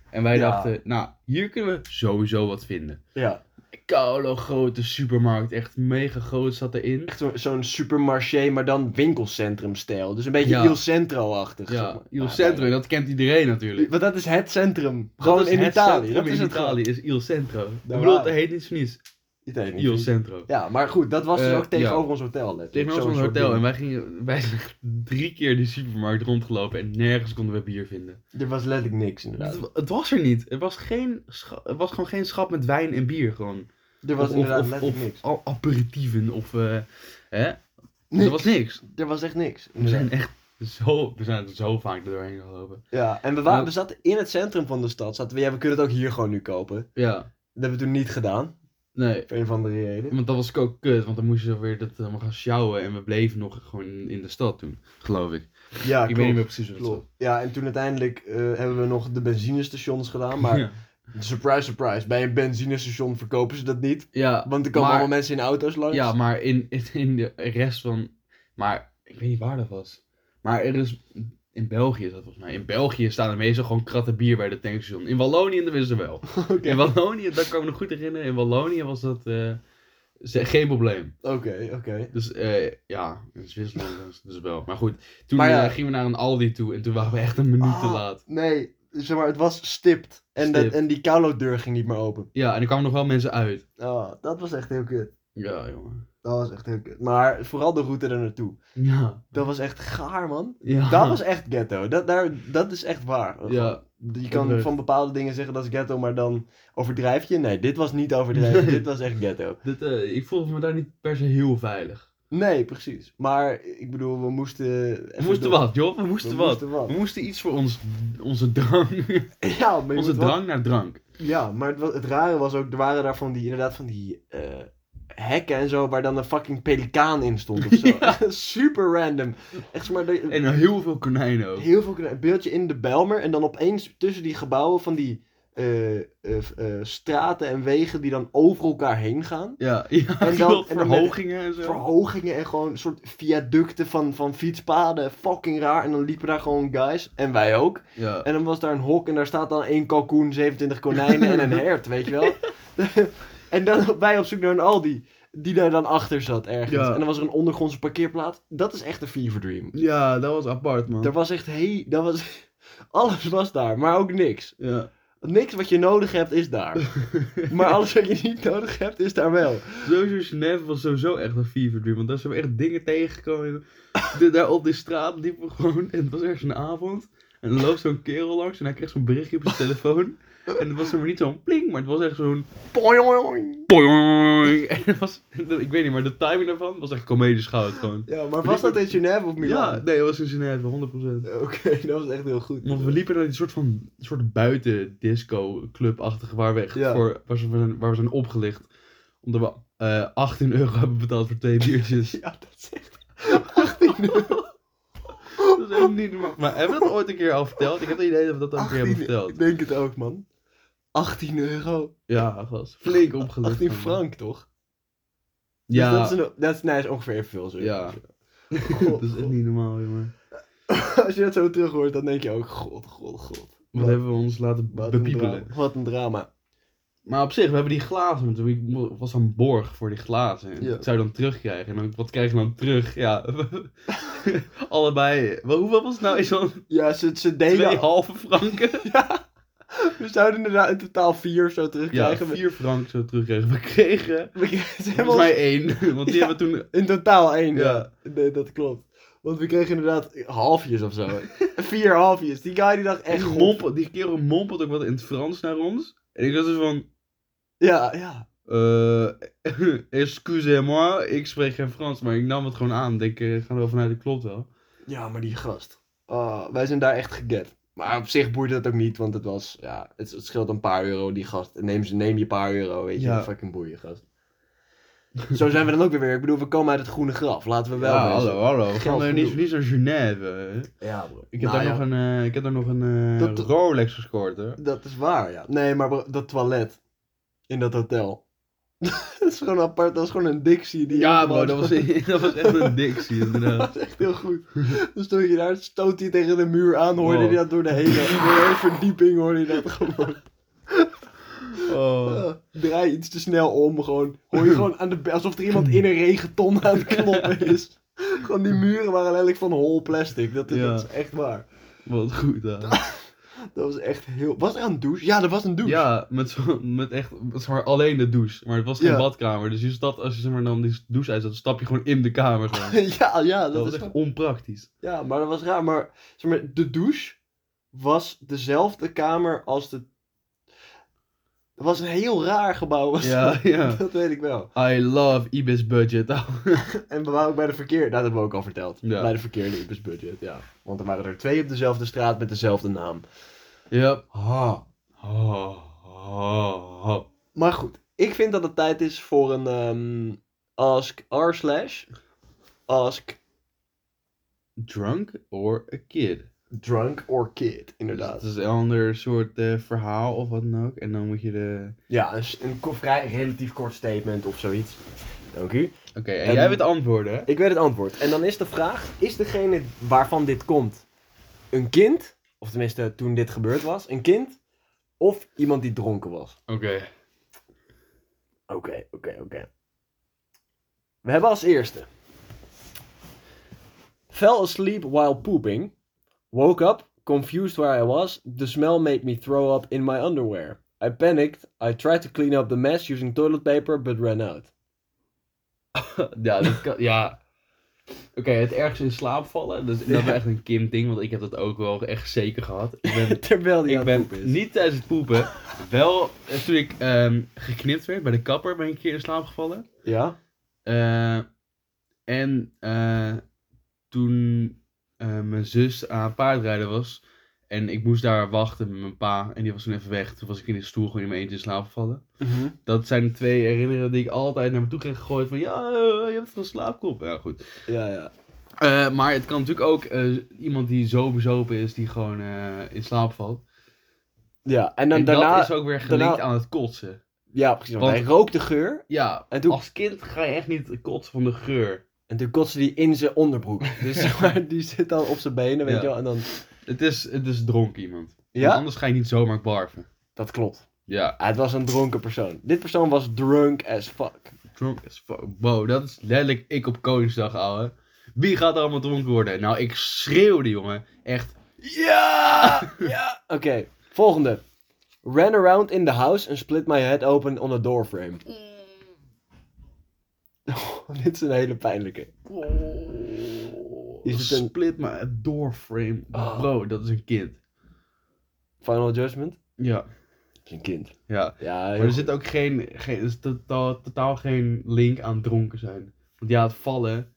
En wij
Ja.
dachten, nou, hier kunnen we sowieso wat vinden.
ja.
Koude, grote supermarkt. Echt mega groot zat erin.
Echt zo- zo'n supermarché, maar dan winkelcentrum-stijl. Dus een beetje
Ja.
Il Centro-achtig. zeg
Ja,
maar.
Il
Ah,
Centro. En dat kent iedereen natuurlijk.
Want dat is het centrum.
Dat
Gewoon
is
in
het
Italië.
centrum
Dat is
in
het
Italië is Il Centro. Ik
Daar
bedoel,
waren
het heet niet voor niets.
gewoon. Italië.
Il Centro.
Ja, maar goed, dat was dus
Eh,
ook tegenover ons hotel. Net.
Tegenover ons hotel en wij, gingen, wij zijn echt drie keer die supermarkt rondgelopen en nergens konden we bier vinden.
Er was letterlijk niks inderdaad.
Het, het was er niet. Het was, geen scha- het was gewoon geen schap met wijn en bier. Gewoon.
Er was
Of-
inderdaad
of, of,
letterlijk niks.
al- aperitieven of... eh, hè?
Niks.
Er was niks.
Er was echt niks.
We
inderdaad.
zijn echt Zo, we zijn er zo vaak er doorheen gelopen.
Ja, en we, wa-
Nou-
we zaten in het centrum van de stad. Zaten we, ja, we kunnen het ook hier gewoon nu kopen.
Ja,
Dat hebben we toen niet gedaan.
nee.
Voor een van de reden.
Want dat was ook kut, want dan moest je weer dat allemaal gaan sjouwen. En we bleven nog gewoon in de stad toen, geloof ik.
Ja,
ik weet niet meer precies hoe dat
Klopt. Ja, en toen uiteindelijk eh, hebben we nog de benzinestations gedaan.
zat.
Maar
Ja.
surprise, surprise. Bij een benzinestation verkopen ze dat niet.
Ja,
Want er komen
Maar-
allemaal mensen in auto's langs.
ja, maar in, in, in de rest van... Maar ik weet niet waar dat was. Maar er is... In België is dat volgens mij. In België staan er meestal gewoon kratten bier bij de tankstation. In Wallonië dat wisten ze wel.
Oké.
In Wallonië, dat kan ik me nog goed herinneren. In Wallonië was dat eh, ze- geen probleem.
Oké, oké.
Dus eh, ja, in Zwitserland was het dus wel. Maar goed, toen
Maar ja.
eh, gingen we naar een Aldi toe en toen waren we echt een minuut te
Ah.
laat.
Nee, zeg maar, het was stipt. En, dat,
Stipt.
en die kauwlooddeur ging niet meer open.
Ja, en er kwamen nog wel mensen uit.
Oh, dat was echt heel kut.
Ja, jongen.
Dat was echt heel kut. Maar vooral de route er naartoe.
Ja.
Dat was echt gaar, man.
ja.
Dat was echt ghetto. Dat, daar, dat is echt waar.
Ja.
Je
leuk.
kan van bepaalde dingen zeggen dat is ghetto, maar dan overdrijf je. Nee, dit was niet overdrijven.
Nee.
dit was echt ghetto.
Dit, eh, ik voelde me daar niet per se heel veilig.
Nee, precies. Maar ik bedoel, we moesten.
We moesten wat, joh. We moesten
We
wat.
moesten wat.
We moesten iets voor ons, onze drang.
Ja, maar je
onze
moet wel-
drang naar drank.
Ja, maar het, wa- het rare was ook, er waren daar van die, inderdaad van die eh, hekken en zo, waar dan een fucking pelikaan in stond of zo. Super random. Echt maar, de-
En heel veel konijnen ook.
heel veel kle- een beeldje in de Belmer en dan opeens tussen die gebouwen van die eh, eh, eh, straten en wegen die dan over elkaar heen gaan.
Ja, ja
En
en
dan- en dan met-
verhogingen en zo.
Verhogingen en gewoon een soort viaducten van, van fietspaden. Fucking raar. En dan liepen daar gewoon guys. En wij ook.
Ja.
En dan was daar een hok en daar staat dan één kalkoen, 27 konijnen en een hert, weet je wel. en dan wij op zoek naar een Aldi, die daar dan achter zat ergens.
Ja.
En dan was er een ondergrondse parkeerplaats. Dat is echt een fever dream.
ja, dat was apart, man.
Er was echt heel... Dat was... Alles was daar, maar ook niks.
Ja.
Niks wat je nodig hebt is daar. Maar alles wat je niet nodig hebt is daar wel.
Sowieso Genève was sowieso echt een fever dream. Want daar zijn we echt dingen tegengekomen. De- daar op die straat liepen we gewoon. En het was ergens een avond. En er loopt zo'n kerel langs en hij kreeg zo'n berichtje op zijn telefoon. En het was maar niet zo'n pling, maar het was echt zo'n.
Poioioioing.
poing. En het was, ik weet niet, maar de timing daarvan was echt comedisch goud gewoon.
Ja, maar was dat in Genève of
Ja,
Milaan?
nee, het was in Genève, 100%.
Oké, dat was echt heel goed.
Want we liepen naar een soort van soort buiten disco clubachtige waar we echt
Ja.
voor waar we, zijn, waar we zijn opgelicht. Omdat we eh 18 euro hebben betaald voor twee biertjes.
Ja, dat is echt... 18 euro.
Dat is echt niet normaal. Maar hebben we dat ooit een keer al verteld? Ik heb het idee dat we dat al een keer hebben
18
verteld.
Ik denk het ook, man. 18 euro.
Ja, gast. Flink opgelucht.
18
man.
frank, toch?
Ja,
Dus dat is, Oh. een, dat is, nee, is ongeveer evenveel, zo.
Ja.
God,
dat is echt niet normaal, jongen.
Als je dat zo terug hoort, dan denk je ook, god, god, god.
Wat hebben we ons laten
wat een
bepiepelen.
drama. Wat een drama.
Maar op zich, we hebben die glazen. want Ik mo- was aan borg voor die glazen. En
Ja.
Ik zou dan terugkrijgen. En dan, wat krijg je dan terug? Ja. Allebei. Maar hoeveel was het nou? Is dan
Ja, ze,
twee
ze delen...
halve franken?
We zouden inderdaad in totaal vier of zo
Ja,
terugkrijgen. We-
vier frank zo terugkrijgen. We kregen
we kregen ze
volgens
helemaal
mij één. Want die
Ja.
hebben we toen...
in totaal één. Ja.
Ja.
Nee, dat klopt. Want we kregen inderdaad halfjes of zo. vier halfjes. Die guy die dacht echt...
En die,
god.
mompel, die kerel mompelt ook wat in het Frans naar ons. En ik was dus van,
Ja, ja.
eh excusez-moi, ik spreek geen Frans, maar ik nam het gewoon aan. Ik denk, eh, ik ga er wel vanuit, dat klopt wel.
Ja, maar die gast. Ah, wij zijn daar echt geget. Maar op zich boeit dat ook niet, want het was, ja, het, het scheelt een paar euro die gast. Neem, ze- neem je paar euro, weet je,
Ja.
fucking boeien gast. Zo zijn we dan ook weer weer. Ik bedoel, we komen uit het groene graf. Laten we wel.
ja,
wezen.
hallo, hallo. Ga
Geld
nou
genoeg.
niet, niet naar Genève. hè.
Ja, bro.
Ik heb,
Nou
daar
ja,
nog een, eh, ik heb daar nog een eh,
Dat- dat-
Rolex gescoord, hè.
Dat is waar, ja. Nee, maar bro, dat toilet in dat hotel. dat is gewoon apart. Dat is gewoon een Dixie. Die
Ja, bro,
gewoon-
dat was, dat was echt een dictie, inderdaad.
Dat was echt heel goed. Dan stond je daar, stoot hij tegen de muur aan, hoorde
Wow.
je dat door de hele, door de hele verdieping, hoorde je dat gewoon.
Oh.
Ah, draai iets te snel om, gewoon. Hoor je gewoon aan de be- alsof er iemand in een regenton aan het kloppen is. gewoon die muren waren letterlijk van hol plastic. Dat, is-
Ja.
dat is echt waar.
Wat goed, hè.
Dat was echt heel. Was er een douche? Ja, er was een douche.
Ja, met, zo, met echt zeg maar, alleen de douche. Maar het was geen
Ja.
badkamer. Dus je stapt, als je zeg maar, dan die douche uit, dan stap je gewoon in de kamer. Gewoon.
ja, ja, dat,
Dat
is
was echt onpraktisch.
Ja, maar dat was raar. Maar, zeg maar de douche was dezelfde kamer als de. Het was een heel raar gebouw. Was
Ja,
dat.
ja.
dat weet ik wel.
I love Ibis budget.
En we waren ook bij de verkeer. Nou, dat hebben we ook al verteld.
Ja.
Bij de verkeerde Ibis budget, ja. Want er waren er twee op dezelfde straat met dezelfde naam.
Yep.
Ha.
Oh, oh, oh.
Maar goed, ik vind dat het tijd is voor een ehm, Ask R slash Ask
Drunk or a kid.
Drunk or Kid,
Dus
inderdaad.
het is een ander soort eh, verhaal of wat dan ook. En dan moet je de...
Ja, een, s- een ko- vrij relatief kort statement of zoiets. Dank u.
Oké, en,
En-
jij weet de antwoorden, hè?
Ik weet het antwoord. En dan is de vraag, is degene waarvan dit komt een kind? Of tenminste, toen dit gebeurd was, een kind? Of iemand die dronken was?
Oké.
Oké, oké, oké. We hebben als eerste. Fell asleep while pooping. Woke up, confused where I was. The smell made me throw up in my underwear. I panicked. I tried to clean up the mess using toilet paper, but ran out.
Ja, dat kan, ja. Oké, het ergste in slaap vallen, dat is, dat is
Ja.
echt een kind ding, want ik heb dat ook wel echt zeker gehad. Ik ben,
Terwijl die
ik
aan
ben
het poepen is.
niet tijdens het poepen, wel eh, toen ik ehm, geknipt werd bij de kapper ben ik een keer in slaap gevallen.
Ja?
Eh, en eh, toen eh, mijn zus aan het paardrijden was en ik moest daar wachten met mijn pa en die was toen even weg, toen was ik in de stoel gewoon in mijn eentje in slaap gevallen. Dat zijn de twee herinneringen die ik altijd naar me toe kreeg gegooid van ja, eh, je hebt van slaapkop. Ja, goed.
Ja, ja.
Eh, maar het kan natuurlijk ook eh, iemand die zo bezopen is, die gewoon eh, in slaap valt.
Ja, en
En,
dan Nou, daarna...
dat is ook weer gelinkt
daarna-
aan het kotsen.
Ja, precies. Want
Want-
hij rook de geur.
Ja,
En toen-
als kind ga je echt niet kotsen van de geur.
En toen kotste hij in zijn onderbroek. Dus zeg maar, die zit dan op zijn benen,
Ja. Mhm.
weet je wel. En dan...
Het is, het is dronken iemand. Want
Ja?
anders ga je niet zomaar barven.
Dat klopt.
Ja,
Ah, het was een dronken persoon. Dit persoon was drunk as fuck.
drunk as fuck. Wow, dat is letterlijk ik op Koningsdag, ouwe. Wie gaat er allemaal dronken worden? Nou, ik schreeuwde, jongen. Echt.
Ja! Ja! Oké, volgende. Ran around in the house and split my head open on a doorframe. dit is een hele pijnlijke. Is het een-
split, maar een doorframe.
Oh.
Bro, dat is een kind.
Final judgment?
Ja,
Dat is een kind.
ja.
Ja, heel
Maar er
goed.
zit ook geen, geen er is totaal, totaal geen link aan dronken zijn. Want ja, het vallen,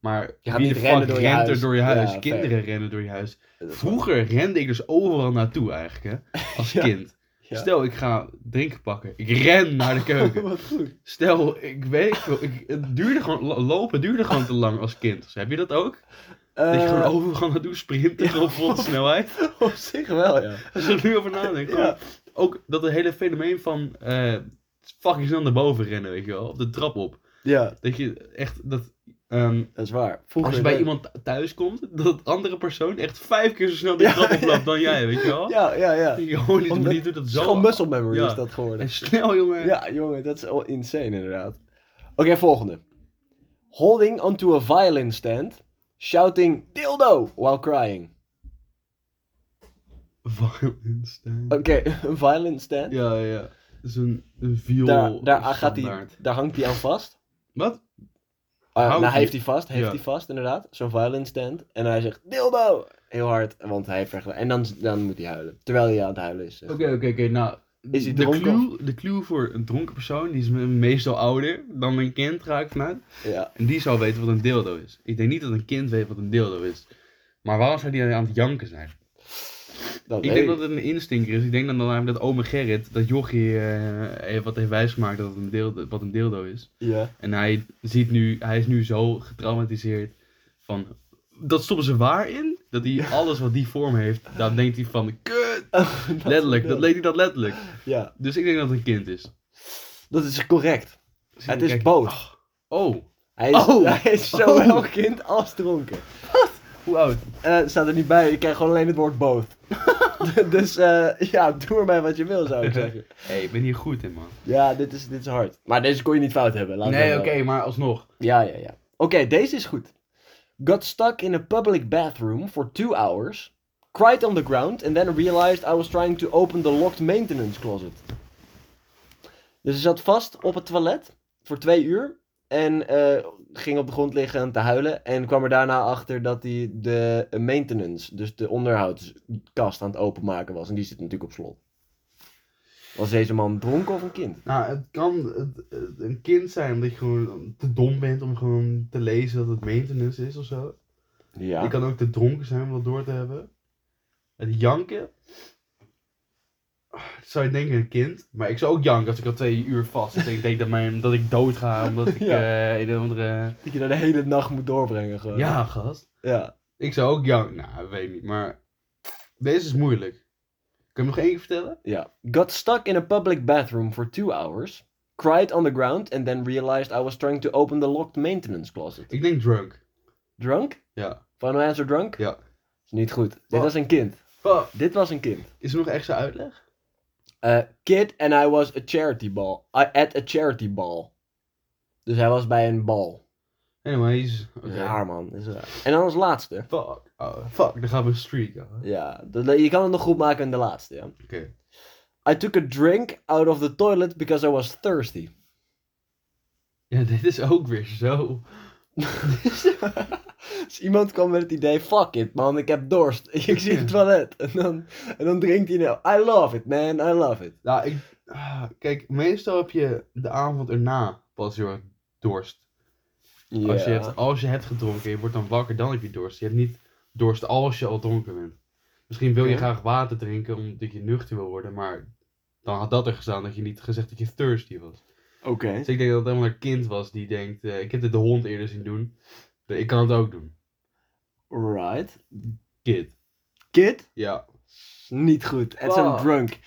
maar
gaat
wie
niet
de
rennen
fuck
door je
rent er
huis.
door je huis?
Ja,
Kinderen rennen door je huis.
Dat is waar.
Vroeger rende ik dus overal naartoe eigenlijk, hè, als
Ja,
kind.
ja.
Stel, ik ga drinken pakken. Ik ren naar de keuken.
Wat goed.
Stel, ik weet veel, ik, het duurde gewoon, lo- lopen duurde gewoon te lang als kind. Dus heb je dat ook? Dat je gewoon
Eh,
overal naartoe sprinten op volle snelheid?
op zich wel, ja.
Als je er nu over nadenkt.
Ja.
gewoon Ook dat het hele fenomeen van eh, fucking snel naar boven rennen, weet je wel. Op de trap op.
Ja,
Dat je echt dat. ehm,
dat is waar.
als
Vroeger
je bij
deed-
iemand th- thuis komt, dat het andere persoon echt vijf keer zo snel de
Ja.
trap oploopt dan jij, weet je wel.
Ja, ja, ja.
Dat je gewoon niet,
Omdat-
niet doet dat
Het
zo.
is gewoon muscle memory
Ja.
is dat geworden.
En snel, jongen.
Ja, jongen, dat is al insane inderdaad. Oké, volgende. Holding onto a violin stand, shouting dildo while crying.
Violence.
Oké, een violin stand.
Ja, ja, ja. Dat is een, een viool.
daar, daar, gaat hij,
standaard.
daar hangt hij aan vast.
Wat?
Ah,
Houdt
nou,
hij-
heeft hij vast, heeft
ja.
hij vast inderdaad. Zo'n violin stand. En hij zegt dildo! Heel hard, want hij heeft vergelijk- En dan, dan moet hij huilen. Terwijl hij aan het huilen is. eh. zeg.
Oké, oké, oké. Nou,
Is hij
de
dronken
clue, de clue voor een dronken persoon, die is me- meestal ouder dan een kind, ga ik vanuit.
Ja.
En die zou weten wat een dildo is. Ik denk niet dat een kind weet wat een dildo is. Maar waarom zou die aan het janken zijn?
Dat
Ik denk dat het een instinker is. Ik denk dan dat, dat ome Gerrit, dat jochie, eh, heeft wat heeft wijsgemaakt dat het een dildo, wat een dildo is.
Ja.
En hij, ziet nu, hij is nu zo getraumatiseerd van... Dat stoppen ze waar in? Dat hij alles wat die vorm heeft, dan denkt hij van... Kut! Letterlijk, dat leed hij dat letterlijk.
Ja,
Dus ik denk dat het een kind is.
dat is correct.
Zit
Het
te
is
kijken.
boot.
Oh,
Hij is,
Oh.
hij is zowel
Oh.
kind als dronken.
hoe oud?
Eh, staat er niet bij, je krijgt gewoon alleen het woord both. dus eh, ja, doe ermee wat je wil, zou ik zeggen.
hey, ik ben hier goed in, man.
Ja, dit is, dit is hard. Maar deze kon je niet fout hebben. laat ik
nee,
dat
oké,
wel.
maar alsnog.
Ja, ja, ja. Oké, deze is goed. Got stuck in a public bathroom for two hours. Cried on the ground and then realized I was trying to open the locked maintenance closet. Dus ze zat vast op het toilet voor twee uur. En eh, ging op de grond liggen en te huilen. En kwam er daarna achter dat hij de maintenance, dus de onderhoudskast aan het openmaken was. En die zit natuurlijk op slot. Was deze man dronken of een kind?
Nou, het kan het- het- een kind zijn dat je gewoon te dom bent om gewoon te lezen dat het maintenance is of zo.
Ja.
Je kan ook te dronken zijn om dat door te hebben. Het janken. Ah, Zou je denken een kind? Maar ik zou ook janken als ik al twee uur vast zit. en ik denk dat, mijn, dat ik dood ga omdat ik
Ja.
eh, een of andere...
Dat je daar de hele nacht moet doorbrengen gewoon.
Ja, gast.
Ja.
Ik zou ook janken. Nou, weet ik niet. Maar deze is moeilijk. Kun je hem nog één keer vertellen?
ja. Got stuck in a public bathroom for two hours. Cried on the ground and then realized I was trying to open the locked maintenance closet.
Ik denk drunk.
Drunk?
Ja.
Final answer drunk?
Ja.
Is niet goed. Dit
Wat?
was een kind.
Oh,
Dit was een kind.
is er nog extra uitleg?
Eh, kid and I was a charity ball. I at a charity ball. Dus hij was bij een bal.
Anyways. Oké.
Raar man. Dat is raar. En dan als laatste.
Fuck. Oh, fuck. Dan gaan we een streak. ja. Oké.
Ja, dat- je kan het nog goed maken in de laatste. Ja. I took a drink out of the toilet because I was thirsty.
Ja, dit is ook weer zo.
dus iemand kwam met het idee, fuck it man, ik heb dorst. Ik zit in het toilet. En dan, en dan drinkt hij nou, I love it man, I love it.
Nou, ik, ah, kijk, meestal heb je de avond erna pas heel erg dorst. Als, je hebt, als je hebt gedronken, je wordt dan wakker, dan heb je dorst. Je hebt niet dorst als je al dronken bent. Misschien wil je
Oké.
graag water drinken omdat je nuchter wil worden, maar dan had dat er gestaan dat je niet gezegd dat je thirsty was.
Oké.
Dus ik denk dat het helemaal een kind was die denkt, eh, ik heb dit de hond eerder zien doen, dus ik kan het ook doen.
Right.
Kid.
Kid,
Ja.
niet goed. Het is een
Wow.
drunk.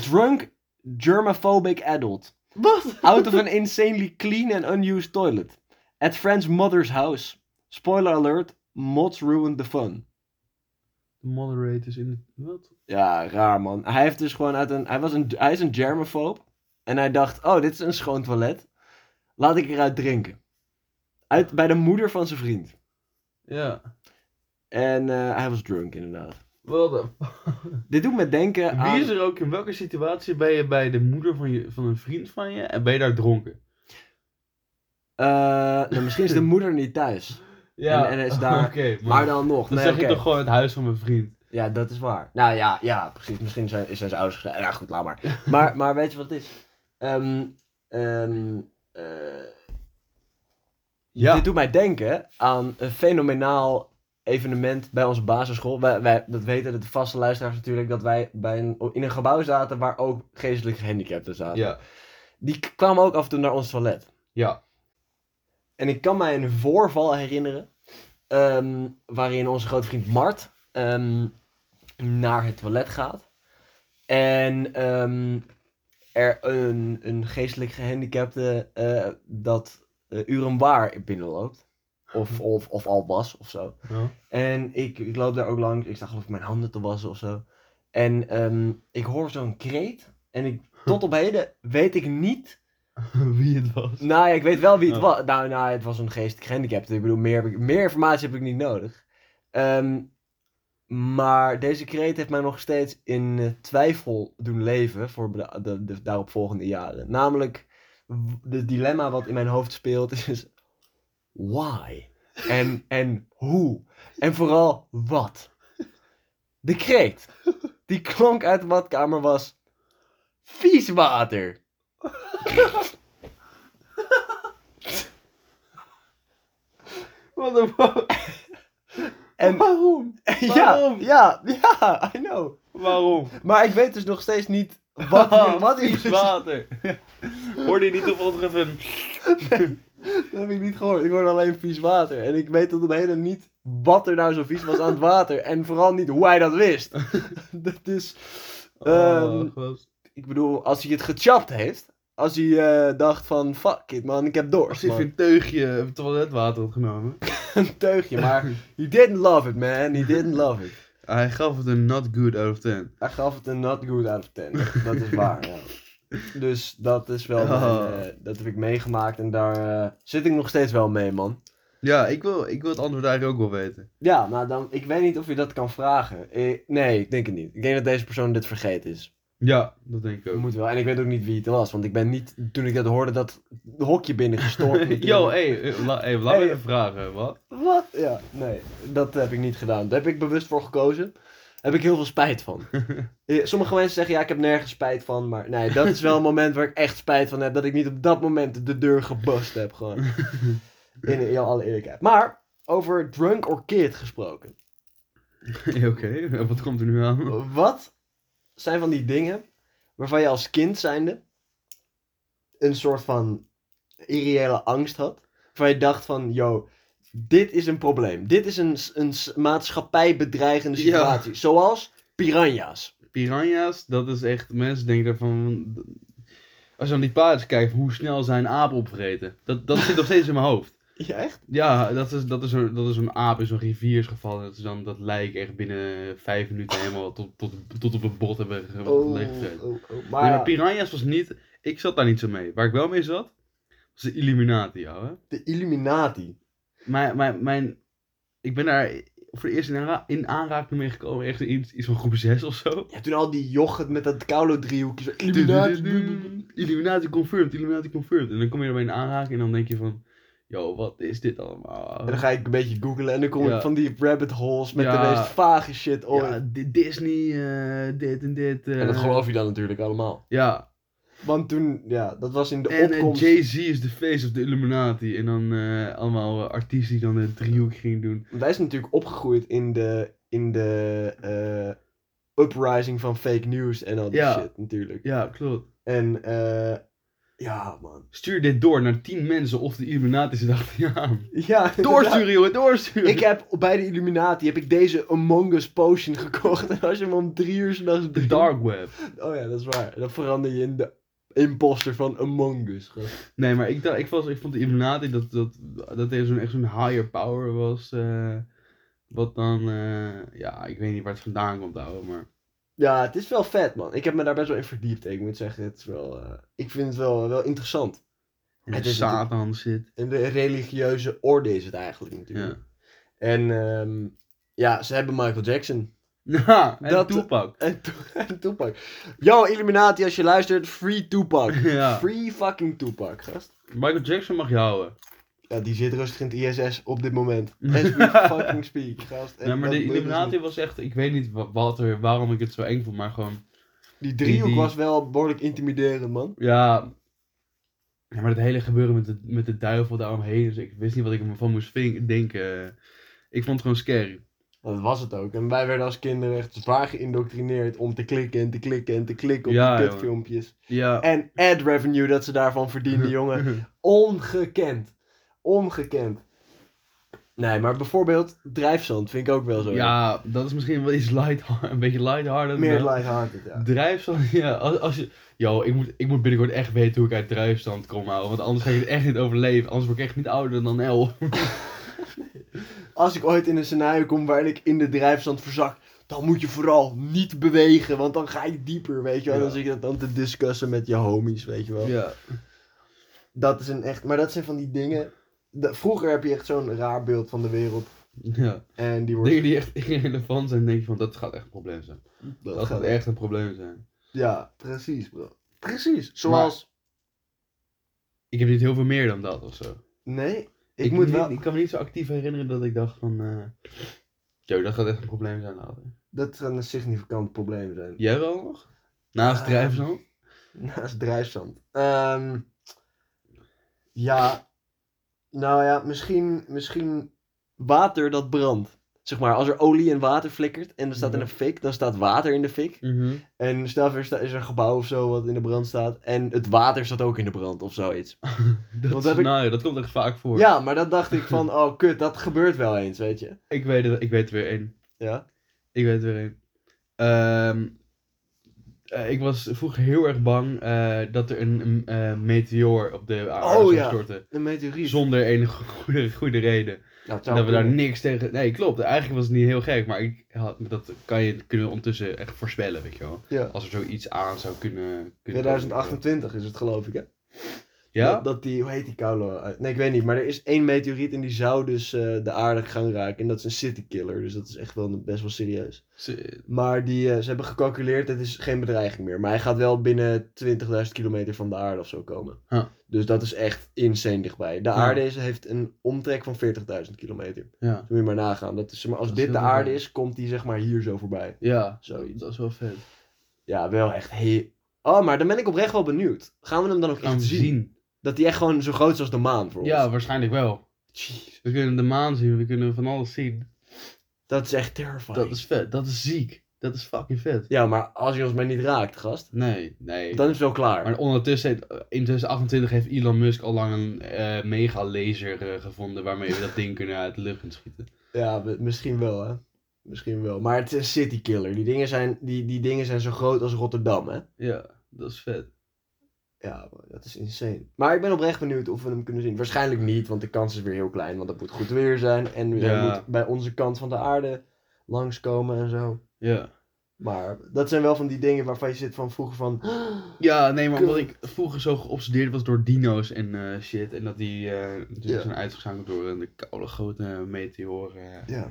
Drunk, germophobic adult.
Wat?
Out of an insanely clean and unused toilet. At friend's mother's house. Spoiler alert, mods ruined the fun.
De moderators in de... Wat?
Ja, raar man. Hij heeft dus gewoon uit een. Hij, was een, hij is een germofoob. En hij dacht: oh, dit is een schoon toilet. Laat ik eruit drinken. Uit, bij de moeder van zijn vriend.
Ja.
En eh, hij was drunk, inderdaad.
Wat de...
Dit doet me denken aan.
Wie is er ook in welke situatie ben je bij de moeder van, je, van een vriend van je en ben je daar dronken?
Eh, nou, misschien is de moeder niet thuis. En- en hij is daar-
Oké, maar,
Maar
dan,
dan nog. Nee,
zeg
oké.
ik toch gewoon het huis van mijn vriend.
Ja, dat is waar. Nou ja, ja precies. Misschien zijn, zijn zijn ouders gezegd. Ja, goed, laat maar. Maar, maar weet je wat het is? Ehm, ehm, eh, Dit doet mij denken aan een fenomenaal evenement bij onze basisschool. Wij, wij, dat weten de vaste luisteraars natuurlijk, dat wij bij een, in een gebouw zaten waar ook geestelijk gehandicapten zaten.
ja.
Die k- kwamen ook af en toe naar ons toilet.
Ja.
En ik kan mij een voorval herinneren. ehm, waarin onze grote vriend Mart ehm, naar het toilet gaat. En ehm, er een, een geestelijk gehandicapte eh, dat eh urenbaar binnenloopt. Of, of, of al was of zo.
Ja.
En ik, ik loop daar ook langs. Ik sta geloof ik mijn handen te wassen of zo. En ehm, ik hoor zo'n kreet. En ik, tot op heden weet ik niet
Wie het was.
nou, ja, ik weet wel wie het
Oh.
was. Nou, nou, het was een geestelijk gehandicapte. Ik bedoel, meer, heb ik- meer informatie heb ik niet nodig. Ehm, maar deze kreet heeft mij nog steeds in eh, twijfel doen leven voor de, de, de daaropvolgende jaren. Namelijk, het dilemma wat in mijn hoofd speelt is dus, why? En, en hoe? En vooral wat? De kreet die klonk uit de badkamer was vies water.
What the fuck?
En
Waarom?
Ja,
Waarom?
ja, ja, I know.
Waarom?
Maar ik weet dus nog steeds niet wat, wat
Oh, Vies
is.
water. Hoorde je niet op ons even...
Dat heb ik niet gehoord. Ik hoorde alleen vies water. En ik weet tot op heden niet wat er nou zo vies was aan het water. En vooral niet hoe hij dat wist. Dat is. ehm,
Oh, gast.
ik bedoel, als hij het gechapt heeft. Als hij eh, dacht van fuck it man, ik heb
Als
dorst.
je even
Man.
een teugje toiletwater had genomen.
Een teugje, maar he didn't love it man, he didn't love it.
Hij gaf het een not good out of 10.
Hij gaf het een not good out of 10. Dat is waar, ja. Dus dat is wel.
Oh.
mijn, eh, dat heb ik meegemaakt en daar eh, zit ik nog steeds wel mee, man.
Ja, ik wil, ik wil het antwoord eigenlijk ook wel weten.
Ja, nou dan. Ik weet niet of je dat kan vragen. Eh, nee, ik denk het niet. Ik denk dat deze persoon dit vergeten is.
Ja, dat denk ik ook.
Moet wel. En ik weet ook niet wie het was, want ik ben niet. Toen ik dat hoorde, dat hokje binnengestorven.
Yo, hé, eh, la- hey, laat
Hey.
me even vragen, wat?
Wat? Ja, nee, dat heb ik niet gedaan. Daar heb ik bewust voor gekozen. heb ik heel veel spijt van. Eh, Sommige mensen zeggen, ja, ik heb nergens spijt van. Maar nee, dat is wel een moment waar ik echt spijt van heb. Dat ik niet op dat moment de deur gebast heb, gewoon. In, in alle eerlijkheid. Maar, over drunk or kid gesproken.
Oké, wat komt er nu aan?
Wat zijn van die dingen waarvan je als kind zijnde een soort van irreële angst had? Waarvan je dacht van, yo, dit is een probleem. Dit is een, s- een s- maatschappijbedreigende
Ja.
situatie. Zoals piranha's.
Piranha's, dat is echt, mensen denken daarvan... Als je aan die paardjes kijkt, hoe snel zijn apen opvreten. Dat, dat zit nog steeds in mijn hoofd.
Ja, echt?
Ja, dat is, dat is, een, dat is een aap in zo'n rivier is gevallen. Dat is dan dat lijk echt binnen vijf minuten helemaal tot, tot, tot op het bot hebben ge-
Oh,
leeggevreten.
maar,
Nee, maar Piranha's was niet... Ik zat daar niet zo mee. Waar ik wel mee zat, was de Illuminati, ouwe.
de Illuminati.
Mijn, mijn, mijn, ik ben daar voor de eerste in, aanra- in aanraking mee gekomen. Echt in iets van groep 6 of zo.
Ja, toen al die yoghurt met dat koude driehoekje. zo, Illuminati.
Illuminati confirmed, Illuminati confirmed. En dan kom je ermee in aanraking en dan denk je van... Yo, wat is dit allemaal?
En dan ga ik een beetje googlen en dan kom
Ja.
ik van die rabbit holes met
Ja.
de meest vage shit ooit.
Ja, di- Disney, eh, dit en dit. eh.
En dat geloof je dan natuurlijk allemaal.
Ja.
Want toen, ja, dat was in de
En eh,
opkomst.
Jay-Z is de face of the Illuminati. En dan eh, allemaal eh, artiesten die dan de driehoek gingen doen.
Wij zijn natuurlijk opgegroeid in de, in de eh, uprising van fake news en al die
Ja.
shit natuurlijk.
Ja, klopt.
En eh, ja, man.
Stuur dit door naar tien mensen of de Illuminati zit achter je aan.
Ja,
Doorsturen, jongen, doorsturen.
Ik heb bij de Illuminati heb ik deze Among Us potion gekocht. En als je hem om drie uur s'nachts
De
drinkt...
dark web.
Oh ja, dat is waar. Dan verander je in de imposter van Among Us. gast.
Nee, maar ik, dacht, ik, was, ik vond de Illuminati dat, dat, dat er zo'n, echt zo'n higher power was. eh, wat dan, eh, ja, ik weet niet waar het vandaan komt, ouwe, maar...
Ja, het is wel vet, man. Ik heb me daar best wel in verdiept. Ik moet zeggen, het is wel, eh, ik vind het wel, wel interessant.
Het
Het is
Satan zit.
En de religieuze orde is het eigenlijk natuurlijk.
Ja.
En ehm, ja, ze hebben Michael Jackson.
Ja, en
Dat-
Tupac.
En, to en Tupac. Yo, Illuminati, als je luistert, free Tupac.
Ja.
Free fucking Tupac, gast.
Michael Jackson mag je houden.
Ja, die zit rustig in het ISS op dit moment. As we fucking speak, gast. En
Ja, maar
dat
de
lukt ons
Illuminati
niet.
was echt, ik weet niet wa- wat er, waarom ik het zo eng vond, maar gewoon,
Die driehoek
die-
was wel behoorlijk intimiderend, man.
ja. ja maar het hele gebeuren met de, met de duivel daaromheen, dus ik wist niet wat ik ervan moest vin- denken. Ik vond het gewoon scary.
Dat was het ook. En wij werden als kinderen echt zwaar geïndoctrineerd om te klikken en te klikken en te klikken op
Ja,
die
jongen.
kutfilmpjes.
Ja.
En ad revenue dat ze daarvan verdienden, jongen. Ongekend. Ongekend. Nee, maar bijvoorbeeld drijfzand vind ik ook wel zo.
Ja, dat is misschien wel iets light, een beetje lighthearted.
Meer
maar-
lighthearted, ja.
Drijfstand, ja. Als, als je, yo, ik moet, ik moet binnenkort echt weten hoe ik uit drijfstand kom, houden. Want anders ga ik het echt niet overleven. Anders word ik echt niet ouder dan El.
Als ik ooit in een scenario kom waarin ik in de drijfzand verzak, dan moet je vooral niet bewegen, want dan ga je dieper, weet je wel.
Ja.
Dan zit je dat dan te discussen met je homies, weet je wel.
Ja.
Dat is een echt, maar dat zijn van die dingen. dat- vroeger heb je echt zo'n raar beeld van de wereld.
ja.
En die wordt.
Dingen die echt irrelevant zijn, denk je van, dat gaat echt een probleem zijn.
dat
Dat gaat
gaat-
echt een probleem zijn.
Ja, precies, bro. Precies. Zoals.
Ik heb niet heel veel meer dan dat of zo.
Nee, ik, moet
niet-
wel.
ik kan me niet zo actief herinneren dat ik dacht van, eh yo, dat gaat echt een probleem zijn, ouder.
Dat kan een significant probleem zijn.
Jij wel nog? Naast
Ah.
drijfstand?
Naast drijfzand. Ehm, ja. Nou ja, misschien, misschien water dat brandt. Zeg maar, als er olie en water flikkert en er staat in
Ja.
een fik, dan staat water in de fik. En stel voor, er sta- is er een gebouw of zo wat in de brand staat. En het water staat ook in de brand of zoiets.
Dat
Want heb ik-
scenario, dat komt echt vaak voor.
Ja, maar dat dacht ik van, oh kut, dat gebeurt wel eens, weet je.
Ik weet het, ik weet er weer één.
Ja.
Ik weet er weer één. Ehm, eh, ik was vroeger heel erg bang eh, dat er een, een, eh, meteoor op de aarde
Oh,
zou
ja.
storten.
Een meteoriet.
Zonder enige goede, goede reden.
Nou, het
En
zou
dat we daar
kunnen.
niks tegen... Nee, klopt. Eigenlijk was het niet heel gek. Maar ik had, dat kan je, kunnen we ondertussen echt voorspellen, weet je wel.
Ja.
Als er zoiets aan zou kunnen... kunnen komen.
2028 is het geloof ik, hè?
Ja?
Dat, dat die, hoe heet die koude? eh, Nee, ik weet niet, maar er is één meteoriet en die zou dus eh, de aarde gaan raken. En dat is een citykiller, dus dat is echt wel een- best wel serieus.
Ze-
Maar die, eh, ze hebben gecalculeerd, het is geen bedreiging meer. Maar hij gaat wel binnen 20.000 kilometer van de aarde of zo komen.
Huh.
Dus dat is echt insane dichtbij. De
Ja.
aarde is, heeft een omtrek van 40.000 kilometer.
Ja.
Moet je maar nagaan. Dat is, zeg maar, als
Dat is
dit de
heel dichtbij.
aarde is, komt die zeg maar hier zo voorbij.
Ja,
Zoiets.
dat is wel vet.
Ja, wel echt heel... Oh, maar dan ben ik oprecht wel benieuwd. Gaan we hem dan ook
Gaan
echt
we
zien?
zien.
Dat die echt gewoon zo groot is als de maan voor
Ja,
ons.
waarschijnlijk wel.
Jeez,
We kunnen de maan zien, we kunnen van alles zien.
dat is echt terrifying.
Dat is vet, dat is ziek. Dat is fucking vet.
Ja, maar als je ons maar niet raakt, gast,
Nee, nee.
dan is het wel klaar.
Maar ondertussen, heeft- eh, in 2028 heeft Elon Musk al lang een eh, mega laser eh, gevonden waarmee we dat ding kunnen uit de lucht gaan schieten.
Ja, we- misschien wel, hè. Misschien wel. Maar het is een citykiller. Die dingen zijn, die, die dingen zijn zo groot als Rotterdam, hè.
Ja, dat is vet.
Ja, dat is insane. Maar ik ben oprecht benieuwd of we hem kunnen zien. Waarschijnlijk niet, want de kans is weer heel klein. Want het moet goed weer zijn. En hij
Ja.
moet bij onze kant van de aarde langskomen en zo.
Ja.
Maar dat zijn wel van die dingen waarvan je zit van vroeger van...
Ja, nee, maar omdat ik vroeger zo geobsedeerd was door dino's en eh, shit. En dat die eh, dus
Ja.
zijn uitgeschakeld door een koude grote meteoren. eh.
Ja.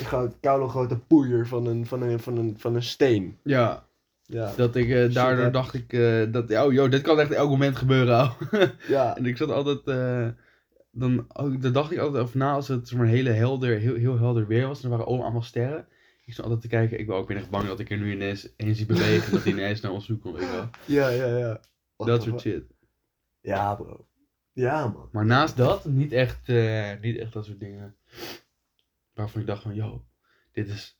Een groot, koude grote poeier van een, van een, van een, van een steen.
Ja,
Ja.
dat ik eh,
Shit
daardoor
happens.
dacht ik eh, dat, oh joh, dit kan echt elk moment gebeuren. ouwe.
ja.
En ik zat altijd, eh, dan, oh, ook- dan dacht ik altijd over na als het zeg maar, hele helder, heel, heel helder weer was. En er waren overal allemaal sterren. Ik zat altijd te kijken, ik ben ook weer echt bang dat ik er nu ineens heen zie bewegen. en dat die ineens naar ons toe komt. weet je wel.
Ja, ja, ja. What
Dat
the
soort
fuck?
shit.
Ja, bro. Ja, man.
Maar naast dat, niet echt, eh, niet echt dat soort dingen. Waarvan ik dacht van, yo, dit is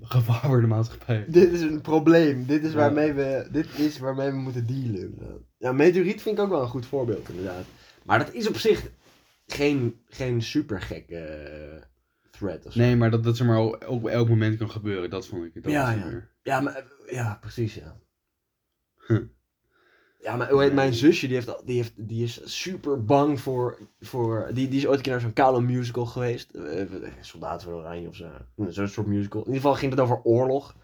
gevaar voor de maatschappij.
Dit is een probleem. Dit is
Ja.
waarmee we, dit is waarmee we moeten dealen. inderdaad. Ja, meteoriet vind ik ook wel een goed voorbeeld, inderdaad. Maar dat is op zich geen, geen super gekke eh, threat of zo.
Nee, maar dat dat zeg maar ook ook elk moment kan gebeuren. Dat vond ik. Dat
Ja,
was
ja.
weer-
Ja, maar, eh, ja, precies, ja.
Huh.
Ja, maar hoe heet mijn zusje, die, heeft, al- die, heeft, die is super bang voor, voor die, die is ooit een keer naar zo'n koude musical geweest. Eh, eh, Soldaten van Oranje of zo. Hm, Zo'n soort musical. In ieder geval ging het over oorlog.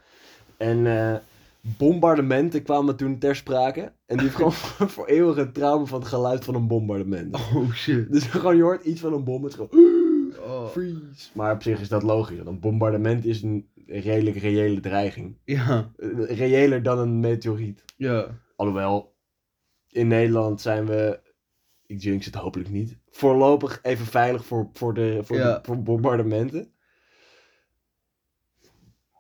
En eh, bombardementen kwamen toen ter sprake. En die heeft gewoon voor, voor eeuwig het trauma van het geluid van een bombardement.
Oh shit.
Dus gewoon, je hoort iets van een bom, het is gewoon...
Oh.
Freeze. Maar op zich is dat logisch, want een bombardement is een redelijk reële dreiging
Ja,
eh, reëler dan een meteoriet.
ja.
Alhoewel, in Nederland zijn we, ik jinx het hopelijk niet, voorlopig even veilig voor, voor, de, voor,
Ja.
voor bombardementen.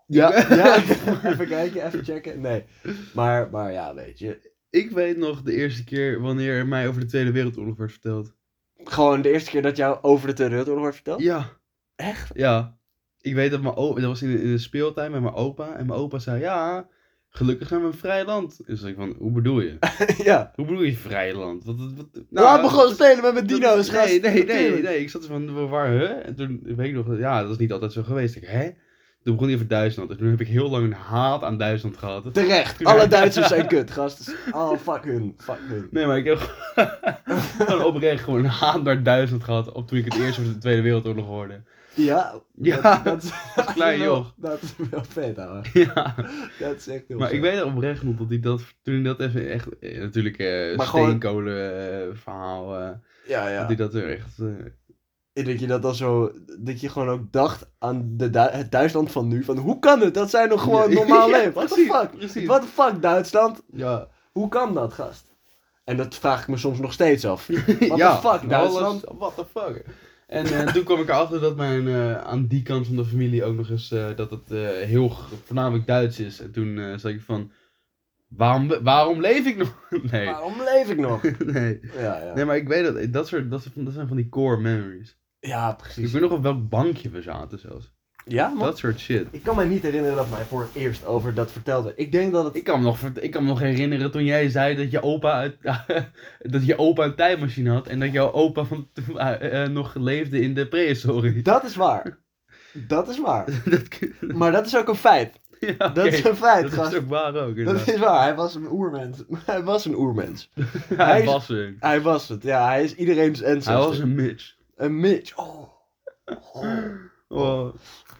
Ja, ja, even kijken, even checken. Nee, maar, maar ja, weet je.
Ik weet nog de eerste keer wanneer er mij over de Tweede Wereldoorlog werd verteld.
Gewoon de eerste keer dat jou over de Tweede Wereldoorlog wordt verteld?
Ja,
Echt?
ja. Ik weet dat mijn opa, dat was in de, in de speeltuin met mijn opa. En mijn opa zei, ja, gelukkig zijn we een vrij land. Dus ik van, hoe bedoel je?
ja.
Hoe bedoel je vrij land? Wat, wat, wat-
Laat me gewoon spelen met mijn
dat-
dino's, gast.
Nou, Nee, nee, nee,
Natuurlijk.
nee. Ik zat er van, waar, hè? En toen weet ik nog, ja, dat is niet altijd zo geweest. Ik, hè? Toen begon hij over Duitsland. En toen heb ik heel lang een haat aan Duitsland gehad.
Terecht, alle Duitsers zijn kut, gast. Oh, fuck hun, fuck hun.
Nee, maar ik heb gewoon oprecht gewoon een haat naar Duitsland gehad. Op toen ik het eerst over de Tweede Wereldoorlog hoorde.
Ja,
Ja,
dat, dat is
klein,
wel-
joh.
Dat is wel vet, ouwe.
Ja.
Dat is echt heel
Maar
vet.
ik weet oprecht nog dat hij dat, toen hij dat even echt, eh, natuurlijk eh
Maar gewoon-
steenkolen eh, verhaal, eh,
Ja,
dat
ja.
hij dat er echt, eh,
Ik denk je dat dan zo... Dat je gewoon ook dacht aan de Du- het Duitsland van nu. Van, hoe kan het dat zij nog gewoon
Ja,
normaal
ja,
leven? What the
precies,
fuck?
precies.
What the fuck, Duitsland?
ja,
Hoe kan dat, gast? En dat vraag ik me soms nog steeds af.
What
the fuck, Duitsland?
what the fuck. En eh, toen kwam ik erachter dat mijn, eh, aan die kant van de familie ook nog eens, eh, dat het eh, heel g- voornamelijk Duits is. En toen eh zei ik van, waarom, waarom leef ik nog? Nee,
Waarom leef ik nog?
nee.
Ja, ja.
Nee, maar ik weet dat, dat, soort, dat, soort- dat zijn van die core memories.
Ja,
Ik
precies.
weet nog op welk bankje we zaten zelfs.
Ja, man.
Dat soort shit.
Ik kan mij niet herinneren dat mij voor het eerst over dat verteld werd. Ik denk dat het...
Ik kan, me nog, vert- ik kan me nog herinneren toen jij zei dat je opa, uit, dat je opa een tijdmachine had en dat jouw opa van, toen, eh, eh, nog leefde in de prehistorie.
Dat is waar. Dat is waar.
dat kun-
Maar dat is ook een feit.
ja,
Dat
oké.
is een feit,
Dat
gast.
is ook waar ook.
Dat
inderdaad.
is waar. Hij was een oermens. Hij was een oermens. hij
Hij
is-
was een.
Hij was het, ja. Hij is iedereen's
Hij
ancestor.
was een Mitch.
Een Mitch. Oh. Oh.
Oh.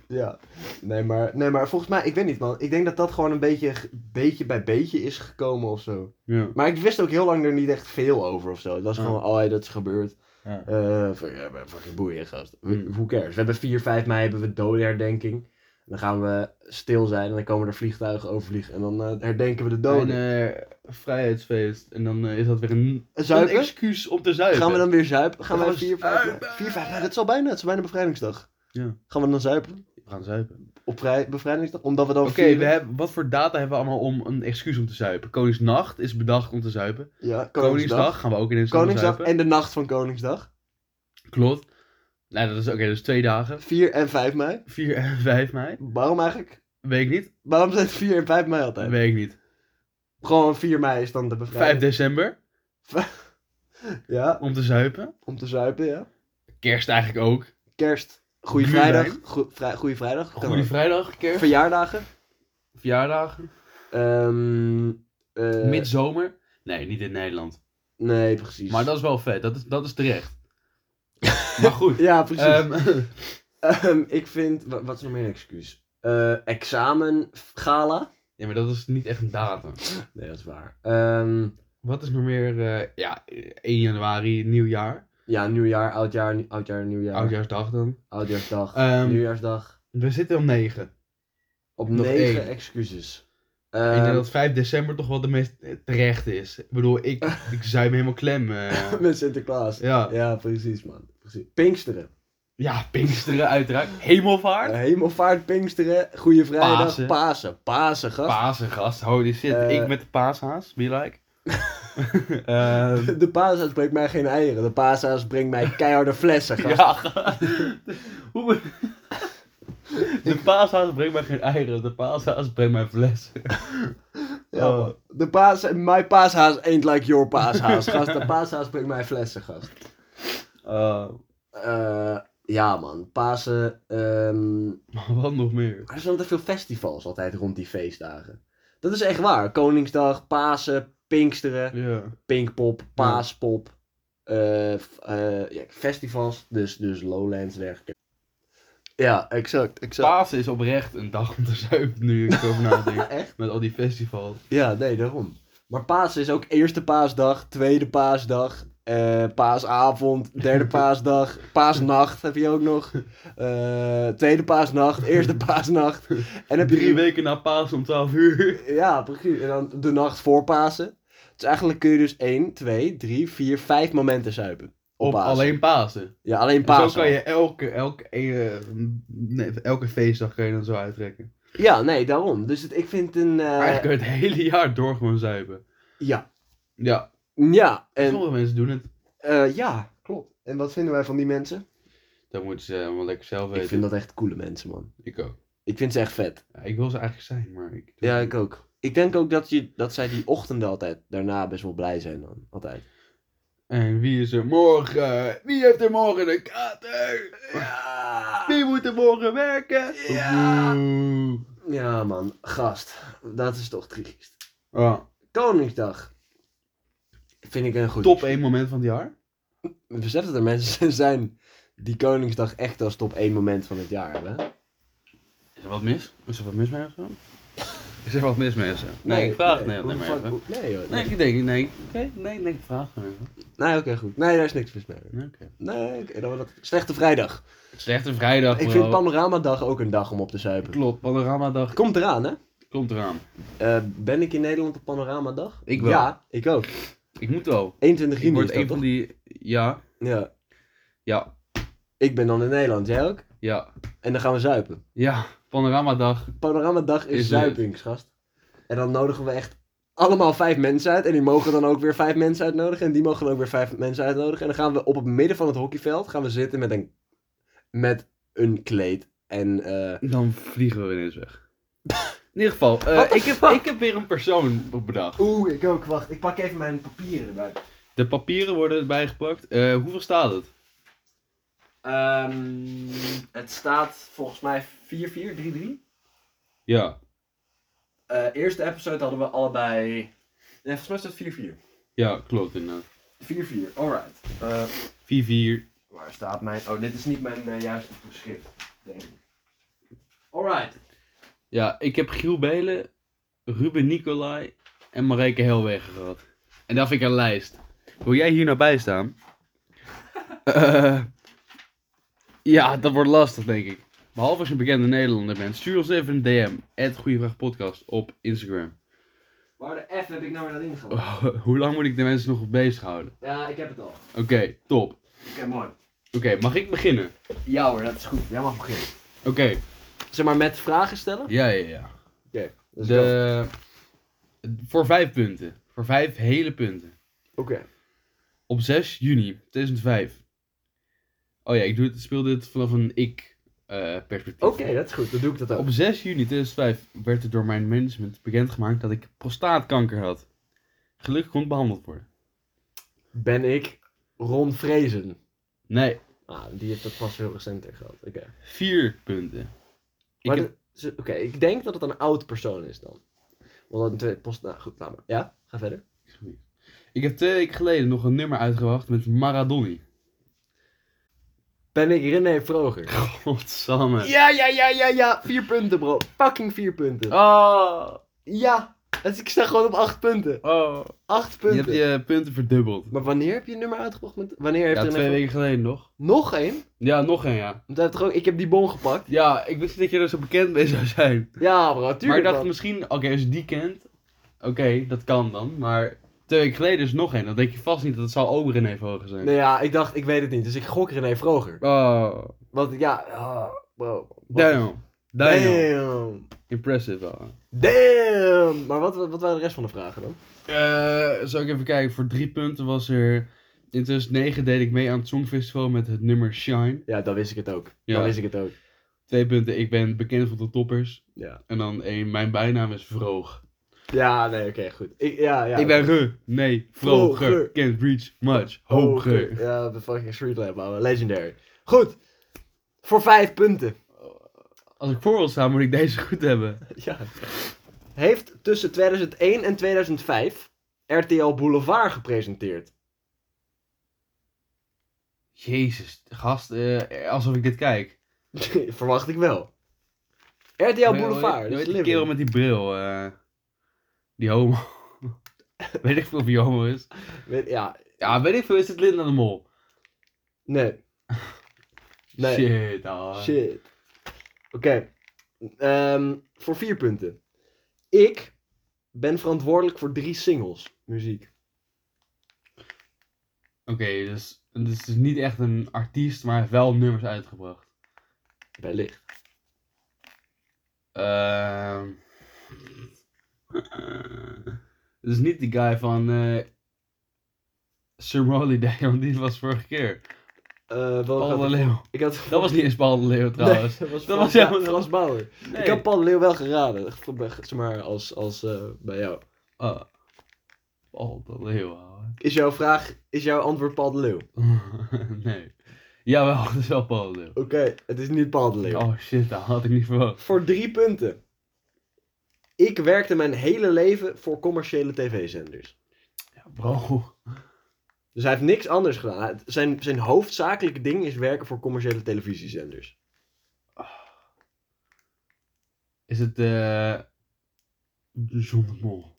Ja, nee maar, nee, maar volgens mij, ik weet niet man. Ik denk dat dat gewoon een beetje, beetje bij beetje is gekomen of zo.
Ja.
Maar ik wist ook heel lang er niet echt veel over of zo. Het was
Ja.
gewoon, oh ja, dat is gebeurd.
Ja.
Eh, fuck, ja, maar fucking boeien, gast. Who-
Mm.
Who cares? We hebben 4, 5 mei hebben we dodenherdenking. En dan gaan we stil zijn en dan komen er vliegtuigen overvliegen. En dan eh, herdenken we de
Een
doden.
eh, vrijheidsfeest. En dan eh, is dat weer een, een
zuipen?
excuus om te zuipen.
Gaan we dan weer zuipen? Gaan,
Gaan
we
we
4, 5 mei?
zuipen?
4, 5 mei, dat is al bijna. Het is bijna bevrijdingsdag.
Ja.
Gaan we dan zuipen?
We gaan zuipen.
Op vrij, bevrijdingsdag? Omdat we dan
Oké,
vieren?
we hebben- wat voor data hebben we allemaal om een excuus om te zuipen? Koningsnacht is bedacht om te zuipen.
Ja, Koningsdag.
Koningsdag gaan we ook in een
Koningsdag
zuipen.
en de nacht van Koningsdag.
Klopt. Nou, dat is oké, dus twee dagen.
4 en 5 mei.
4 en 5 mei.
Waarom eigenlijk?
Weet ik niet.
Waarom zijn het 4 en 5 mei altijd?
Weet ik niet.
Gewoon 4 mei is dan de
5
bevrijding.
december
Ja,
om te zuipen.
om te zuipen, ja.
Kerst eigenlijk ook.
Kerst. Goeie
Glühwein.
vrijdag. Goe- vrij- Goeie vrijdag. Kan
Goede
ook.
vrijdag, kerst.
Verjaardagen.
Verjaardagen.
Ehm eh,
Midzomer. Nee, niet in Nederland.
Nee, precies.
Maar dat is wel vet. Dat is, dat is terecht. maar goed.
Ja, precies.
Ehm,
Ehm, ik vind... wa- Wat is nog meer een excuus? Eh examengala.
ja, maar dat is niet echt een datum.
Nee, dat is waar. Ehm,
Wat is nog meer? eh, ja, 1 januari, nieuwjaar.
ja, nieuwjaar, oudjaar, nie- oudjaar, nieuwjaar.
Oudjaarsdag dan.
Oudjaarsdag.
Ehm,
nieuwjaarsdag.
We zitten op 9.
Op
nog
negen
één.
excuses.
ik
Ehm,
denk dat 5 december toch wel de meest eh, terecht is. Ik bedoel, ik, ik zuim helemaal klem. eh.
Met Sinterklaas.
ja.
Ja, precies man. Precies. Pinksteren.
ja, Pinksteren uiteraard. Hemelvaart.
Eh, hemelvaart, Pinksteren, Goede Vrijdag, Pasen.
Pasen.
Pasen, gast.
Pasen, gast. Holy shit.
Eh,
ik met de paashaas. Be like. Ehm,
De Pasen brengt mij geen eieren. De Pasen brengt mij keiharde flessen, gast.
ja. Hoe... De paashaas brengt mij geen eieren. De paashaas brengt mij flessen.
Ja, man. de paas, my paashaas ain't like your paashaas, gast. De paashaas brengt mij flessen, gast.
Eh,
Eh, ja, man. Pasen. ehm,
maar wat nog meer?
er zijn altijd veel festivals altijd rond die feestdagen. Dat is echt waar. Koningsdag, Pasen, Pinksteren,
Ja.
Pinkpop, Paaspop. eh, f- eh, ja, festivals, dus, dus Lowlands en dergelijke. Ja, exact, exact.
Pasen is oprecht een dag om te zuipen nu ik erover nadenk.
Echt?
Met al die festivals.
Ja, nee, daarom. Maar Pasen is ook eerste paasdag, tweede paasdag, eh, paasavond, derde paasdag, paasnacht heb je ook nog. Eh, tweede paasnacht, eerste paasnacht. En heb je
Drie weken na Pasen om 12 uur.
Ja, precies. En dan de nacht voor Pasen. Dus eigenlijk kun je dus 1, 2, 3, 4, 5 momenten zuipen. Op,
Op
Pasen.
alleen Pasen.
Ja, alleen
En
Pasen.
Zo kan je elke, elke, eh, nee, elke feestdag kan je dan zo uittrekken.
Ja, nee, daarom. Dus het, ik vind een... eh,
Eigenlijk kun je het hele jaar door gewoon zuipen.
Ja.
Ja,
Ja, en,
sommige mensen doen het.
eh, ja, klopt. En wat vinden wij van die mensen?
Dat moeten ze helemaal lekker zelf weten.
Ik vind dat echt coole mensen, man.
Ik ook.
Ik vind ze echt vet.
Ja, ik wil ze eigenlijk zijn, maar ik...
Ja, ik ook. Ik denk ook dat, je, dat zij die ochtenden altijd daarna best wel blij zijn dan. Altijd.
En wie is er morgen? Wie heeft er morgen een kater?
Ja,
Wie moet er morgen werken?
Ja.
Oeh.
ja man. Gast. Dat is toch triest.
Ja.
Koningsdag. Vind ik een goed.
Top één moment van het jaar?
Ik Besef dat er mensen zijn die Koningsdag echt als top 1 moment van het jaar hebben.
Is er wat mis? Is er wat mis mee of zo? Is er wat mis mee of zo? Nee, ik vraag
vraag
het nee,
nee,
nee, maar
hoe
even.
fuck- nee, joh, nee.
Nee, ik denk, nee, oké, nee, nee, ik vraag het even.
Nee, oké, goed. Nee, daar is niks mis mee.
Nee, oké.
Nee, oké, dan wordt het slechte vrijdag.
Slechte vrijdag,
Ik
bro.
vind Panoramadag ook een dag om op te zuipen.
Klopt, panoramadag
Komt eraan, hè?
komt eraan.
Eh, ben ik in Nederland op Panoramadag?
Ik wel.
Ja, ik ook.
Ik moet wel.
21
Ik
juni is
word
dat,
een
toch?
van die, ja,
Ja.
ja,
Ik ben dan in Nederland, jij ook?
ja,
En dan gaan we zuipen.
ja, panoramadag.
Panoramadag is,
Is leuk.
zuipingsgast. En dan nodigen we echt allemaal vijf mensen uit. En die mogen dan ook weer vijf mensen uitnodigen. En die mogen dan ook weer vijf mensen uitnodigen. En dan gaan we op het midden van het hockeyveld gaan we zitten met een, met een kleed. En eh,
Dan vliegen we ineens weg. In ieder geval, eh,
What the
ik, heb,
fuck?
ik heb weer een persoon bedacht.
Oeh, ik ook. Wacht, ik pak even mijn papieren erbij.
De papieren worden erbij gepakt. Eh, hoeveel staat het?
Ehm, het staat volgens mij 4-4-3-3.
Ja,
Eh, eerste episode hadden we allebei... Nee, volgens mij staat 4-4.
ja, klopt inderdaad.
4-4, alright. Eh,
4-4.
Waar staat mijn... Oh, dit is niet mijn eh, juiste geschrift. Alright.
Ja, ik heb Giel Belen, Ruben Nicolai en Marijke Helwegen gehad. En dat vind ik een lijst. Wil jij hier nou bij staan? Eh, ja, dat wordt lastig, denk ik. Behalve als je een bekende Nederlander bent. Stuur ons even een DM. Het Goeie Vraag Podcast op Instagram.
Waar de F heb ik nou weer dat ingegaan?
Oh, hoe lang moet ik de mensen nog bezighouden?
Ja, ik heb het al.
Oké, top. Oké,
Oké, mooi.
mag ik beginnen?
Ja hoor, dat is goed. Jij mag beginnen.
Oké,
Zeg maar met vragen stellen?
ja, ja, ja.
Oké. let's go.
De... Voor vijf punten. Voor vijf hele punten.
Oké.
Op 6 juni 2005. Oh ja, ik doe het, speel dit vanaf een ik-perspectief.
Oké, dat is goed. Dan doe ik dat ook.
Op 6 juni 2005 werd er door mijn management bekendgemaakt dat ik prostaatkanker had. Gelukkig kon het behandeld worden.
Ben ik Ron Vrezen.
Nee,
Ah, die heeft dat pas heel recenter gehad. Oké.
4 punten. Ik
Maar
heb-
de- ze- Oké, ik denk dat het een oud persoon is dan. Want dat een tweede post... Nou goed, laat maar. Ja, ga verder.
ik heb twee weken geleden nog een nummer uitgebracht met Maradoni.
Ben ik René Vroger?
Godsamme.
Ja, ja, ja, ja, ja. Vier punten, bro. Fucking vier punten.
Oh,
Ja. Dus ik sta gewoon op acht punten.
oh.
Acht
Je
punten.
hebt je punten verdubbeld.
Maar wanneer heb je een nummer uitgebracht? Met... Wanneer heeft
Ja,
René
twee
Vroger-
weken geleden nog.
Nog één?
Ja, nog een ja.
Want hij heeft toch ook... Ik heb die bon gepakt.
Ja, ik wist niet dat je er zo bekend mee zou zijn.
Ja, bro.
maar
Tuurlijk,
ik dacht
man.
misschien, oké, als je die kent, oké, dat kan dan. Maar twee weken geleden is nog één. Dan denk je vast niet dat het zou ook René Vogel zijn.
Nee, ja, ik dacht... Ik weet het niet. Dus ik gok René Vroger.
Oh,
Want ja... ah, bro. Wat-
damn. Damn.
Damn.
Impressive wel.
Damn. Maar wat, wat, wat waren de rest van de vragen dan?
Eh, zal ik even kijken. Voor drie punten was er... In 2009 deed ik mee aan het Songfestival met het nummer Shine.
Ja, dan wist ik het ook.
Ja.
Dan wist ik het ook.
Twee punten, ik ben bekend van de toppers.
Ja.
En dan één, mijn bijnaam is Vroog.
Ja, nee, oké, goed. Ik, ja, ja.
ik ben Re, nee, Vroger.
Vroger.
Can't reach much,
Oh,
hoger.
goed. Ja, de fucking Street Lab, ouwe. Legendary. Goed. Voor vijf punten.
Als ik voor wil staan, moet ik deze goed hebben.
Ja. Heeft tussen 2001 en 2005 RTL Boulevard gepresenteerd.
Jezus, gast, eh, alsof ik dit kijk.
Verwacht ik wel. RTL Boulevard.
Weet
Dat is
die
living.
kerel met die bril. eh, die homo. weet ik veel of die homo is.
Weet- Ja,
Ja, weet ik veel, is het Linda de Mol?
nee. Nee.
Shit, ah.
Shit. Oké. Ehm, voor vier punten. Ik ben verantwoordelijk voor drie singles muziek.
Oké, dus, dus het is niet echt een artiest, maar hij heeft wel nummers uitgebracht.
Wellicht.
Ehm. Het is niet die guy van eh Sir Holiday, want die was vorige
Oh,
keer.
Eh welke
Paul de
had ik-
Leeuw.
ik had...
Dat was niet eens Paul de Leeuw
Nee,
trouwens.
dat was,
Dat
dat
was
was
helemaal-
Frans Bauer.
Nee.
Ik had Paul de Leeuw wel geraden. Echt, Zeg maar als, als eh, bij jou.
Oh. Paul de Leeuw, ouwe.
Is jouw vraag, is jouw antwoord Paul de Leeuw? Oké,
nee. Jawel, het is wel Paul de Leeuw.
het is niet Paul de Leeuw.
Oh shit, dat had ik niet verwacht.
Voor drie punten. Ik werkte mijn hele leven voor commerciële tv-zenders.
Ja, bro.
Dus hij heeft niks anders gedaan. Hij- Zijn, zijn hoofdzakelijke ding is werken voor commerciële televisiezenders.
Is het eh... John de Mol?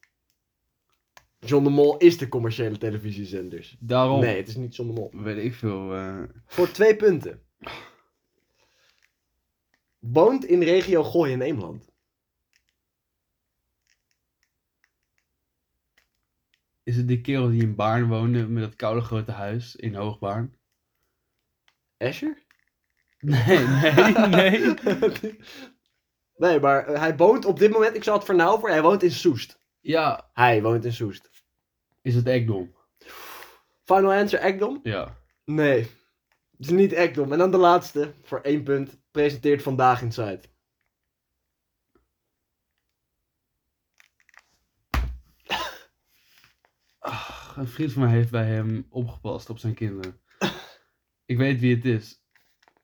John de Mol is de commerciële televisiezenders.
Daarom.
Nee, het is niet John de Mol.
Weet ik veel. eh,
Voor twee punten. Woont in regio Gooi in Eemland.
Is het die kerel die in Baarn woonde met dat koude grote huis in Hoogbaarn?
Asher?
Nee, nee, nee.
nee, maar eh, hij woont op dit moment, ik zal het vernauwen voor, hij woont in Soest.
ja,
Hij woont in Soest.
is het Ekdom?
Final answer, Ekdom?
Ja.
Nee. Het is niet Ekdom. En dan de laatste, voor één punt, presenteert vandaag Inside.
Ach, een vriend van mij heeft bij hem opgepast op zijn kinderen. ik weet wie het is.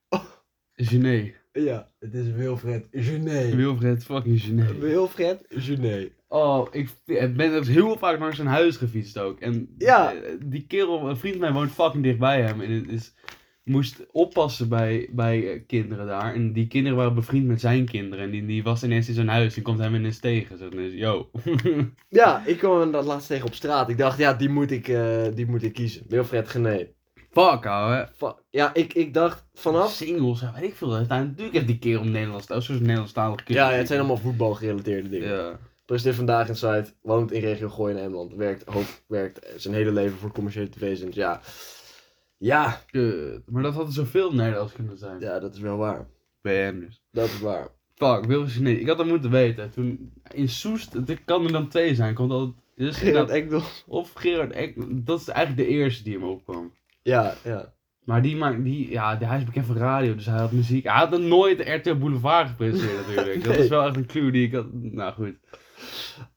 Oh. Gené.
Ja, het is Wilfred Genet.
Wilfred fucking Gené.
Wilfred Genet.
Oh, ik ik ben dus heel vaak naar zijn huis gefietst ook. En
Ja.
eh, die kerel, een vriend van mij woont fucking dichtbij hem. En het is moest oppassen bij, bij eh, kinderen daar. En die kinderen waren bevriend met zijn kinderen. En die, die was ineens in zijn huis en komt hem ineens tegen. Zo ineens, yo.
Ja, ik kwam hem dat laatst tegen op straat. Ik dacht, ja, die moet ik, eh, die moet ik kiezen. Wilfred Gené.
Fuck, ouwe.
Fa- Ja, ik, ik dacht vanaf...
Singles, ja, weet ik veel. Daar staan natuurlijk echt die keer om Nederlands. Dat is zo'n Nederlandstalig
Ja, ja, het zijn allemaal voetbalgerelateerde dingen.
Ja.
President vandaag in site, woont in regio Gooi in Emmeland, werkt, hoofd, werkt eh, zijn hele leven voor commerciële tv-zenders. Ja. Ja,
Kut. Maar dat had zoveel Nederlands kunnen zijn.
ja, dat is wel waar.
BM dus.
Dat is waar.
Fuck, Wilfried Gené. Ik had dat moeten weten. Toen, in Soest, het kan er dan twee zijn. Komt altijd, dus
Gerard
inderdaad-
Ekdel.
of Gerard Ek. Dat is eigenlijk de eerste die hem opkwam.
Ja, ja.
Maar die maakt, die, ja, die- hij is bekend van radio, dus hij had muziek. Hij had nog nooit RTL Boulevard gepresenteerd natuurlijk. Dat
Nee.
is wel echt een clue die ik had. Nou goed.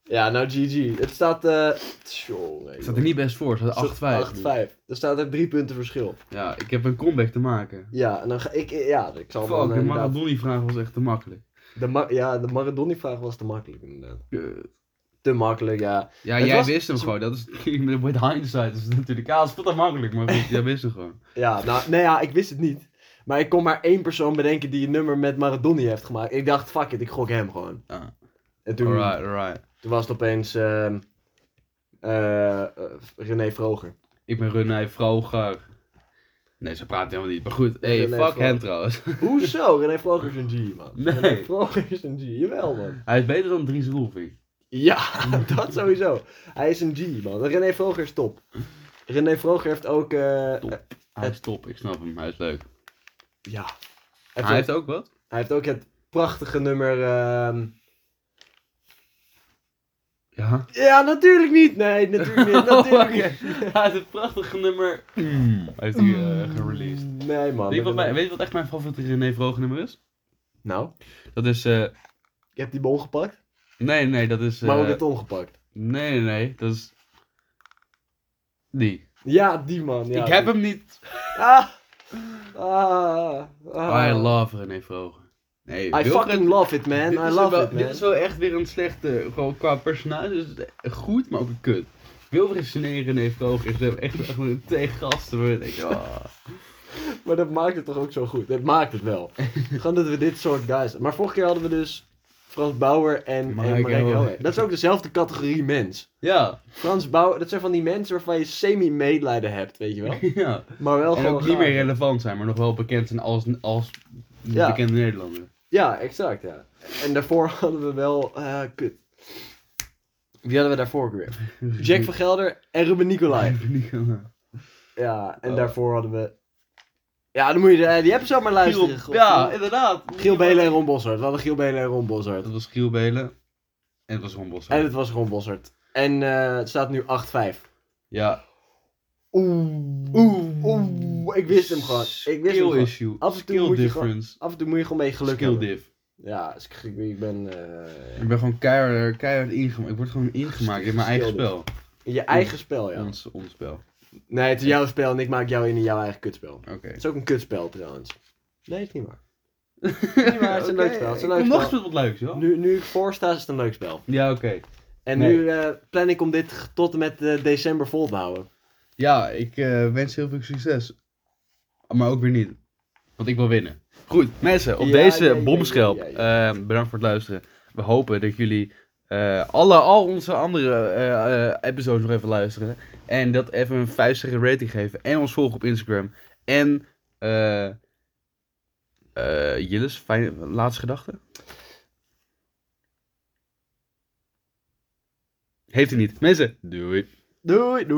Ja, nou GG. Het staat... eh Tjonge,
Ik zat er niet best voor, ze
joh. Het staat
hadden 8-5.
8-5. Er staat er drie punten verschil.
Ja, ik heb een comeback te maken.
Ja, en dan ga ik... Ja, ik zal
Fuck,
eh,
de
inderdaad-
Maradoni-vraag was echt te makkelijk.
de Ma- Ja, de Maradoni-vraag was te makkelijk inderdaad.
Kut.
Te makkelijk, ja.
Ja,
Het
jij
was-
wist hem gewoon. Dat is met hindsight. Dat is natuurlijk ja, dat is veel te makkelijk, maar goed, jij wist hem gewoon.
Ja, nou, nee, ja, ik wist het niet. Maar ik kon maar één persoon bedenken die een nummer met Maradoni heeft gemaakt. Ik dacht, fuck it, ik gok hem gewoon.
Ah.
En toen,
Alright, alright.
toen was het opeens ehm, eh, eh, René Vroger.
Ik ben René Vroger. Nee, ze praat helemaal niet. Maar goed, hey,
René
fuck hem
Vroger.
trouwens.
Hoezo? René Vroger is een G, man.
Nee.
René Vroger is een G, jawel, man.
Hij is beter dan Dries Roelving.
Ja, dat sowieso. Hij is een G, man. René Vroger is top. René Vroger heeft ook... eh,
Top.
eh,
Hij is top, ik snap hem. Hij is leuk.
ja.
Hij heeft ook wat?
Hij heeft ook het prachtige nummer... ehm,
Ja.
Ja, natuurlijk niet. Nee, natuurlijk
Oh,
niet. Natuurlijk niet.
Hij heeft een prachtig nummer. Hij heeft die eh, gereleased.
Nee, man.
Weet je, wat
dat-
mijn, weet je wat echt mijn favoriete René Vroger nummer is?
Nou,
Dat is. eh,
ik heb die bol gepakt,
nee, nee, dat is. eh,
maar ook de tong gepakt.
nee, nee, nee, dat is. Die.
Ja, die man. Ja,
ik heb
die-
hem niet.
Ah! Ah! ah.
I love René Vroger. Nee,
I
Wilfred-
fucking love it, man.
dit
I
is
love
wel,
it, man.
Dit is wel echt weer een slechte. Gewoon qua personage is het goed, maar ook een kut. Wilfred Gené, René Vroger is echt, echt, echt een twee gasten. waar ik denk, ah.
Maar dat maakt het toch ook zo goed? Dat maakt het wel. Gewoon dat we dit soort guys... Maar vorige keer hadden we dus Frans Bauer en
Marijke
en Marijke
Helweg.
Helweg. Dat is ook dezelfde categorie mens.
Ja,
Frans Bauer, dat zijn van die mensen waarvan je semi-medelijden hebt, weet je wel?
ja.
Maar wel
En
gewoon
ook niet meer
gaaf.
relevant zijn, maar nog wel bekend zijn als, als
Ja.
bekende Nederlander.
Ja, exact, ja. En daarvoor hadden we wel... eh, kut. Wie hadden we daarvoor ook weer? Jack van Gelder en Ruben Nicolai. Ja, en
Oh.
daarvoor hadden we... Ja, dan moet je de, die episode maar luisteren.
Giel, ja, inderdaad.
Giel Belen en Ron Bossert. We hadden Giel Belen en Ron Bossert.
Dat was Giel Belen. En het was Ron Bossart.
En het was Ron Bossert. En eh, het staat nu 8-5.
Ja.
Oeh. Oeh. Oeh. Ik wist hem gewoon. Ik wist hem
Skill
gewoon.
issue.
Af en toe
Skill
moet je
difference.
Af en toe moet je gewoon mee geluk
Skill
hebben.
diff.
Ja, dus ik, ik- ik ben... eh,
Ik ben gewoon keihard, keihard ingemaakt. Ik word gewoon ingemaakt in mijn eigen
Skill
spel.
in je eigen spel, ja.
Ons, ons spel.
Nee, het is jouw spel en ik maak jou in jouw eigen kutspel.
Oké.
Het is ook een kutspel trouwens. Nee, het is niet waar.
Niet
waar, het is een leuk spel, het is een leuk
nog eens
spel.
met wat leuks, joh.
Nu, nu ik voor sta, is het een leuk spel.
Ja, oké.
En
Nee.
nu eh, plan ik om dit g- tot en met eh, december vol te houden.
Ja, ik eh, wens heel veel succes. Maar ook weer niet. Want ik wil winnen. Goed, mensen, op
Ja,
deze
ja, ja,
bomschelp.
ja, ja,
eh, bedankt voor het luisteren. We hopen dat jullie eh, alle, al onze andere eh, eh, episodes nog even luisteren. En dat even een 5 sterren rating geven. En ons volgen op Instagram. En eh eh Jillis, fijn- laatste gedachte? Heeft hij niet. Mensen, doei.
Doei, doei.